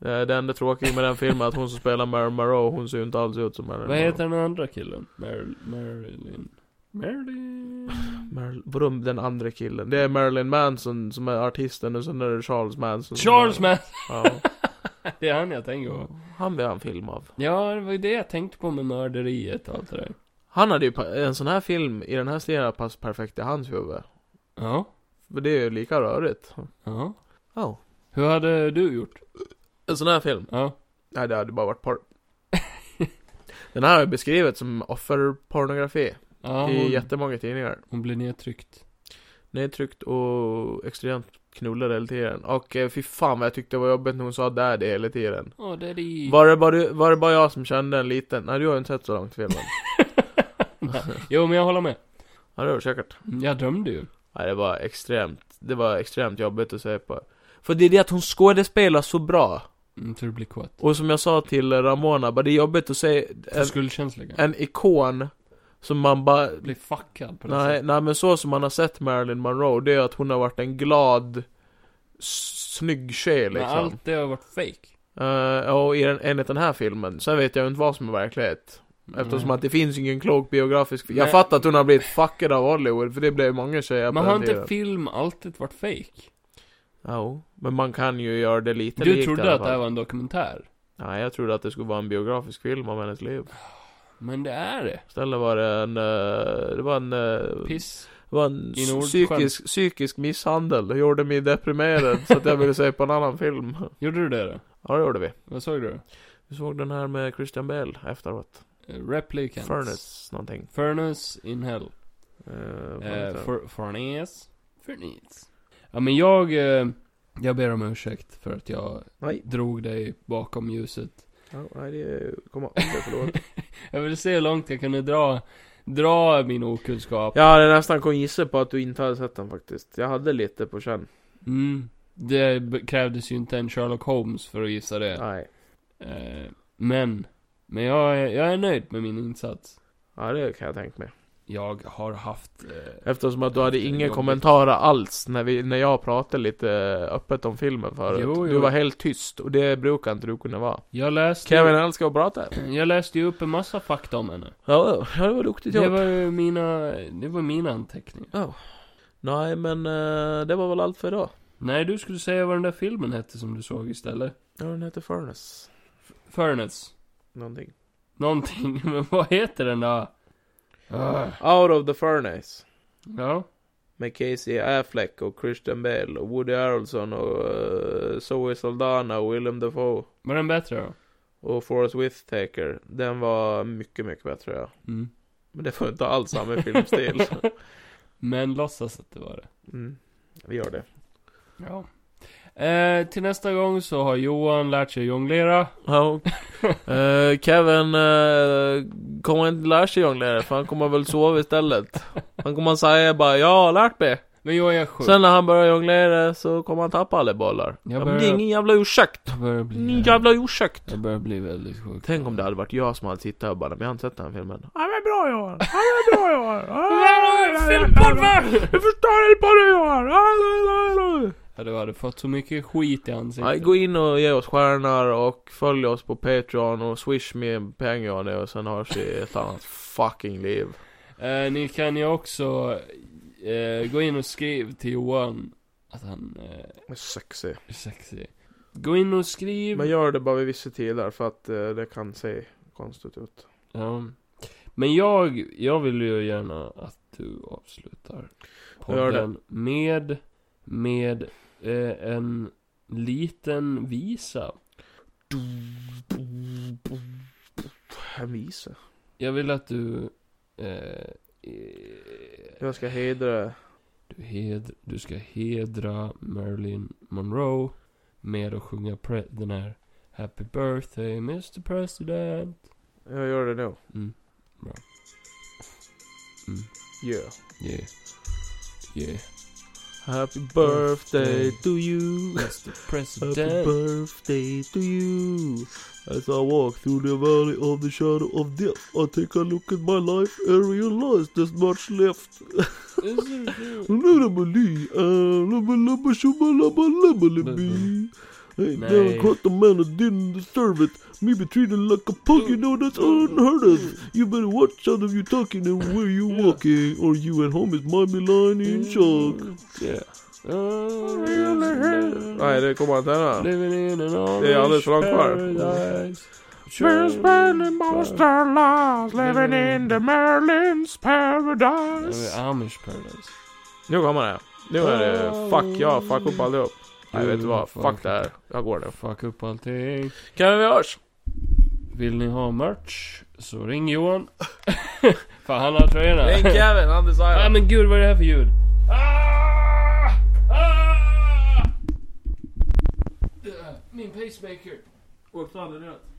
Speaker 3: Eh, Det enda tråkiga med den filmen är att hon som spelar Marilyn Monroe, hon ser ju inte alls ut som Marilyn
Speaker 4: Vad
Speaker 3: Monroe.
Speaker 4: heter den andra killen? Mar- Marilyn... Marilyn...
Speaker 3: Maril- Vadå den andra killen? Det är Marilyn Manson som är artisten och sen är det Charles Manson. som
Speaker 4: Charles
Speaker 3: är-
Speaker 4: Manson! (laughs)
Speaker 3: Ja.
Speaker 4: Det är han jag tänker på.
Speaker 3: Han vill ha en film av.
Speaker 4: Ja, det var ju det jag tänkte på med mörderiet och allt det där.
Speaker 3: Han hade ju, pa- en sån här film i den här stilen passar perfekt i hans huvud.
Speaker 4: Ja.
Speaker 3: För det är ju lika rörigt.
Speaker 4: Ja.
Speaker 3: Ja.
Speaker 4: Hur hade du gjort?
Speaker 3: En sån här film?
Speaker 4: Ja.
Speaker 3: Nej, det hade bara
Speaker 4: (laughs)
Speaker 3: varit porr. Den här har ju beskrivits som offerpornografi
Speaker 4: Ja,
Speaker 3: i
Speaker 4: hon,
Speaker 3: jättemånga tidningar.
Speaker 4: hon blir nedtryckt.
Speaker 3: Nedtryckt och extremt knullad hela tiden. Och eh, fy fan vad jag tyckte det var jobbigt när hon sa där det hela tiden.
Speaker 4: Åh, det är i...
Speaker 3: Var det, bara, du- var det bara jag som kände en liten? Nej, du har ju inte sett så
Speaker 4: (laughs)
Speaker 3: långt filmen.
Speaker 4: Jo, men jag håller med.
Speaker 3: Ja, det var säkert.
Speaker 4: Jag drömde ju.
Speaker 3: Nej, det var extremt, det var extremt jobbigt att se på. För det är det att hon skådespelar så bra.
Speaker 4: Mm, så det blir kåt.
Speaker 3: Och som jag sa till Ramona, bara det är jobbigt att se
Speaker 4: För
Speaker 3: en,
Speaker 4: skuldkänsliga.
Speaker 3: en ikon som man bara
Speaker 4: Blir fuckad på det
Speaker 3: Nej,
Speaker 4: sättet.
Speaker 3: nej men så som man har sett Marilyn Monroe, det är att hon har varit en glad, s- snygg tjej
Speaker 4: Men
Speaker 3: liksom.
Speaker 4: allt det har varit fake.
Speaker 3: Eh, och i den, enligt den här filmen, sen vet jag ju inte vad som är verklighet. Eftersom att det finns ingen klok biografisk
Speaker 4: Mm. Nej.
Speaker 3: Jag fattar att hon har blivit fuckad av Hollywood, för det blev många tjejer
Speaker 4: Men
Speaker 3: på
Speaker 4: har
Speaker 3: den
Speaker 4: inte
Speaker 3: tiden.
Speaker 4: film alltid varit fake?
Speaker 3: Jo, men man kan ju göra det lite
Speaker 4: Du
Speaker 3: likt i
Speaker 4: trodde
Speaker 3: alla
Speaker 4: att det här
Speaker 3: fall.
Speaker 4: var en dokumentär.
Speaker 3: Nej, jag trodde att det skulle vara en biografisk film om hennes liv.
Speaker 4: Men det är det.
Speaker 3: Istället var det en, eh, det var en, eh,
Speaker 4: Piss.
Speaker 3: Det var en
Speaker 4: Inord-
Speaker 3: psykisk, psykisk misshandel, det gjorde mig deprimerad så att jag ville se på en annan film.
Speaker 4: Gjorde du det då?
Speaker 3: Ja, det gjorde vi.
Speaker 4: Vad såg du?
Speaker 3: Vi såg den här med Christian Bale efteråt.
Speaker 4: Eh, Replicants.
Speaker 3: Furnace någonting.
Speaker 4: Furnace in hell.
Speaker 3: Eh, vad
Speaker 4: Eh,
Speaker 3: heter den?
Speaker 4: för, Farnäs. Farnäs. Ja men jag, eh, jag ber om ursäkt för att jag
Speaker 3: Nej.
Speaker 4: drog dig bakom ljuset.
Speaker 3: Ja, nej, det är... Kom ihåg det, förlåt.
Speaker 4: Jag ville se hur långt jag kunde dra, dra min okunskap.
Speaker 3: Jag hade nästan kunnat gissa på att du inte hade sett den faktiskt. Jag hade lite på känn.
Speaker 4: Mm. Det be- krävdes ju inte en Sherlock Holmes för att gissa det.
Speaker 3: Nej.
Speaker 4: Eh, men, men jag är, jag är nöjd med min insats.
Speaker 3: Ja, det kan jag tänka mig.
Speaker 4: Jag har haft... Eh,
Speaker 3: Eftersom att du hade
Speaker 4: Det är
Speaker 3: inga
Speaker 4: jobbigt.
Speaker 3: kommentarer alls när, vi, när jag pratade lite öppet om filmen förut.
Speaker 4: Jo, jo.
Speaker 3: Du var helt tyst och det brukar inte du kunna vara.
Speaker 4: jag läste
Speaker 3: Kevin älskar att prata.
Speaker 4: (clears throat) Jag läste ju upp en massa fakta om henne.
Speaker 3: Ja, ja, det var duktigt
Speaker 4: Det
Speaker 3: jobbat.
Speaker 4: var ju mina, det var mina anteckningar.
Speaker 3: Nej, men eh, det var väl allt för idag.
Speaker 4: Nej, du skulle säga vad den där filmen hette som du såg istället.
Speaker 3: Ja, den heter Furnace.
Speaker 4: Furnace.
Speaker 3: Någonting.
Speaker 4: Någonting, (laughs) men vad heter den då? Ah,
Speaker 3: Out of the Furnace.
Speaker 4: ja.
Speaker 3: Med Casey Affleck och Christian Bale och Woody Harrelson och eh, Zoe Saldana och Willem Dafoe.
Speaker 4: Var den bättre då?
Speaker 3: Och Forrest Whitaker. Den var mycket, mycket bättre ja.
Speaker 4: Mm.
Speaker 3: Men det var inte alls samma (laughs) filmstil.
Speaker 4: Men låtsas att det var det.
Speaker 3: Mm. Vi gör det.
Speaker 4: Ja. Eh, till nästa gång så har Johan lärt sig jonglera.
Speaker 3: Ja, eh, Kevin eh, kommer inte lära sig jonglera för han kommer väl sova istället. Han kommer säga bara 'Jag har lärt mig'
Speaker 4: Men jag är sjuk.
Speaker 3: Sen när han börjar jonglera så kommer han tappa alla bollar.
Speaker 4: Jag
Speaker 3: Ja, men det är
Speaker 4: börjar-
Speaker 3: ingen jävla ursäkt.
Speaker 4: Jag börjar bli...
Speaker 3: Ingen jävla ursäkt.
Speaker 4: Jag börjar bli väldigt sjuk.
Speaker 3: Tänk om det hade varit jag som hade tittat och bara, men jag har inte sett den här filmen.
Speaker 2: Ja men bra Johan! Ja men bra Johan! Ja,
Speaker 3: Jag förstår inte vad du gör!
Speaker 4: Ja, du hade fått så mycket skit i
Speaker 3: Nej,
Speaker 4: ansiktet.
Speaker 3: gå in och ge oss stjärnor och följ oss på Patreon och swish med pengar nu och sen hörs vi i ett annat fucking liv.
Speaker 4: Eh, ni kan ju också eh, gå in och skriv till Johan att han eh,
Speaker 3: Men Sexy.
Speaker 4: är sexig. Gå in och skriv.
Speaker 3: Men gör det bara vid vissa tider för att eh, det kan se konstigt ut.
Speaker 4: Ja. Men jag, jag vill ju gärna att du avslutar
Speaker 3: Jag gör
Speaker 4: podden med, med eh, en liten visa.
Speaker 3: En visa.
Speaker 4: Jag vill att du... Eh, eh,
Speaker 3: Jag ska hedra
Speaker 4: du, hed, du ska hedra Marilyn Monroe med att sjunga pre- den här Happy birthday Mr President.
Speaker 3: Jag gör det nu.
Speaker 4: Mm. Bra. Mm.
Speaker 3: Yeah.
Speaker 4: Yeah.
Speaker 3: (laughs)
Speaker 4: Yeah.
Speaker 3: Happy birthday to you.
Speaker 4: Mr
Speaker 3: Happy
Speaker 4: President.
Speaker 3: birthday to you. As I walk through the valley of the shadow of death, I take a look at my life and realize there's much left. Lubbly, uh, lubba lubba shubba lubba lubba lubby. Hey,
Speaker 4: Nej.
Speaker 3: down caught the man that didn't deserve it. Me be treated like a punk, you know that's unheard of. You better watch out if you talking and where you walking, or you at home is might be lying in shock.
Speaker 4: Yeah. Oh,
Speaker 3: Nej, det kommer inte hända.
Speaker 4: Living in an orange
Speaker 3: Det är alldeles för långt kvar.
Speaker 4: paradise.
Speaker 2: We're spending most our lives living in the Merlin's paradise.
Speaker 4: Eller Amish paradise.
Speaker 3: Nu kommer det. Nu är det fuck ja, fuck upp allihop. Nej, vet du vad? Fuck det här. Jag går nu.
Speaker 4: Fuck upp allting.
Speaker 3: Kan vi hörs?
Speaker 4: Vill ni ha merch så ring Johan. (laughs) Fan han har tröjorna. (laughs)
Speaker 3: Ring Kevin, han
Speaker 4: Nej
Speaker 3: designar.
Speaker 4: men gud vad är det här för ljud? Ah! Ah! Min pacemaker. Åkte aldrig rätt.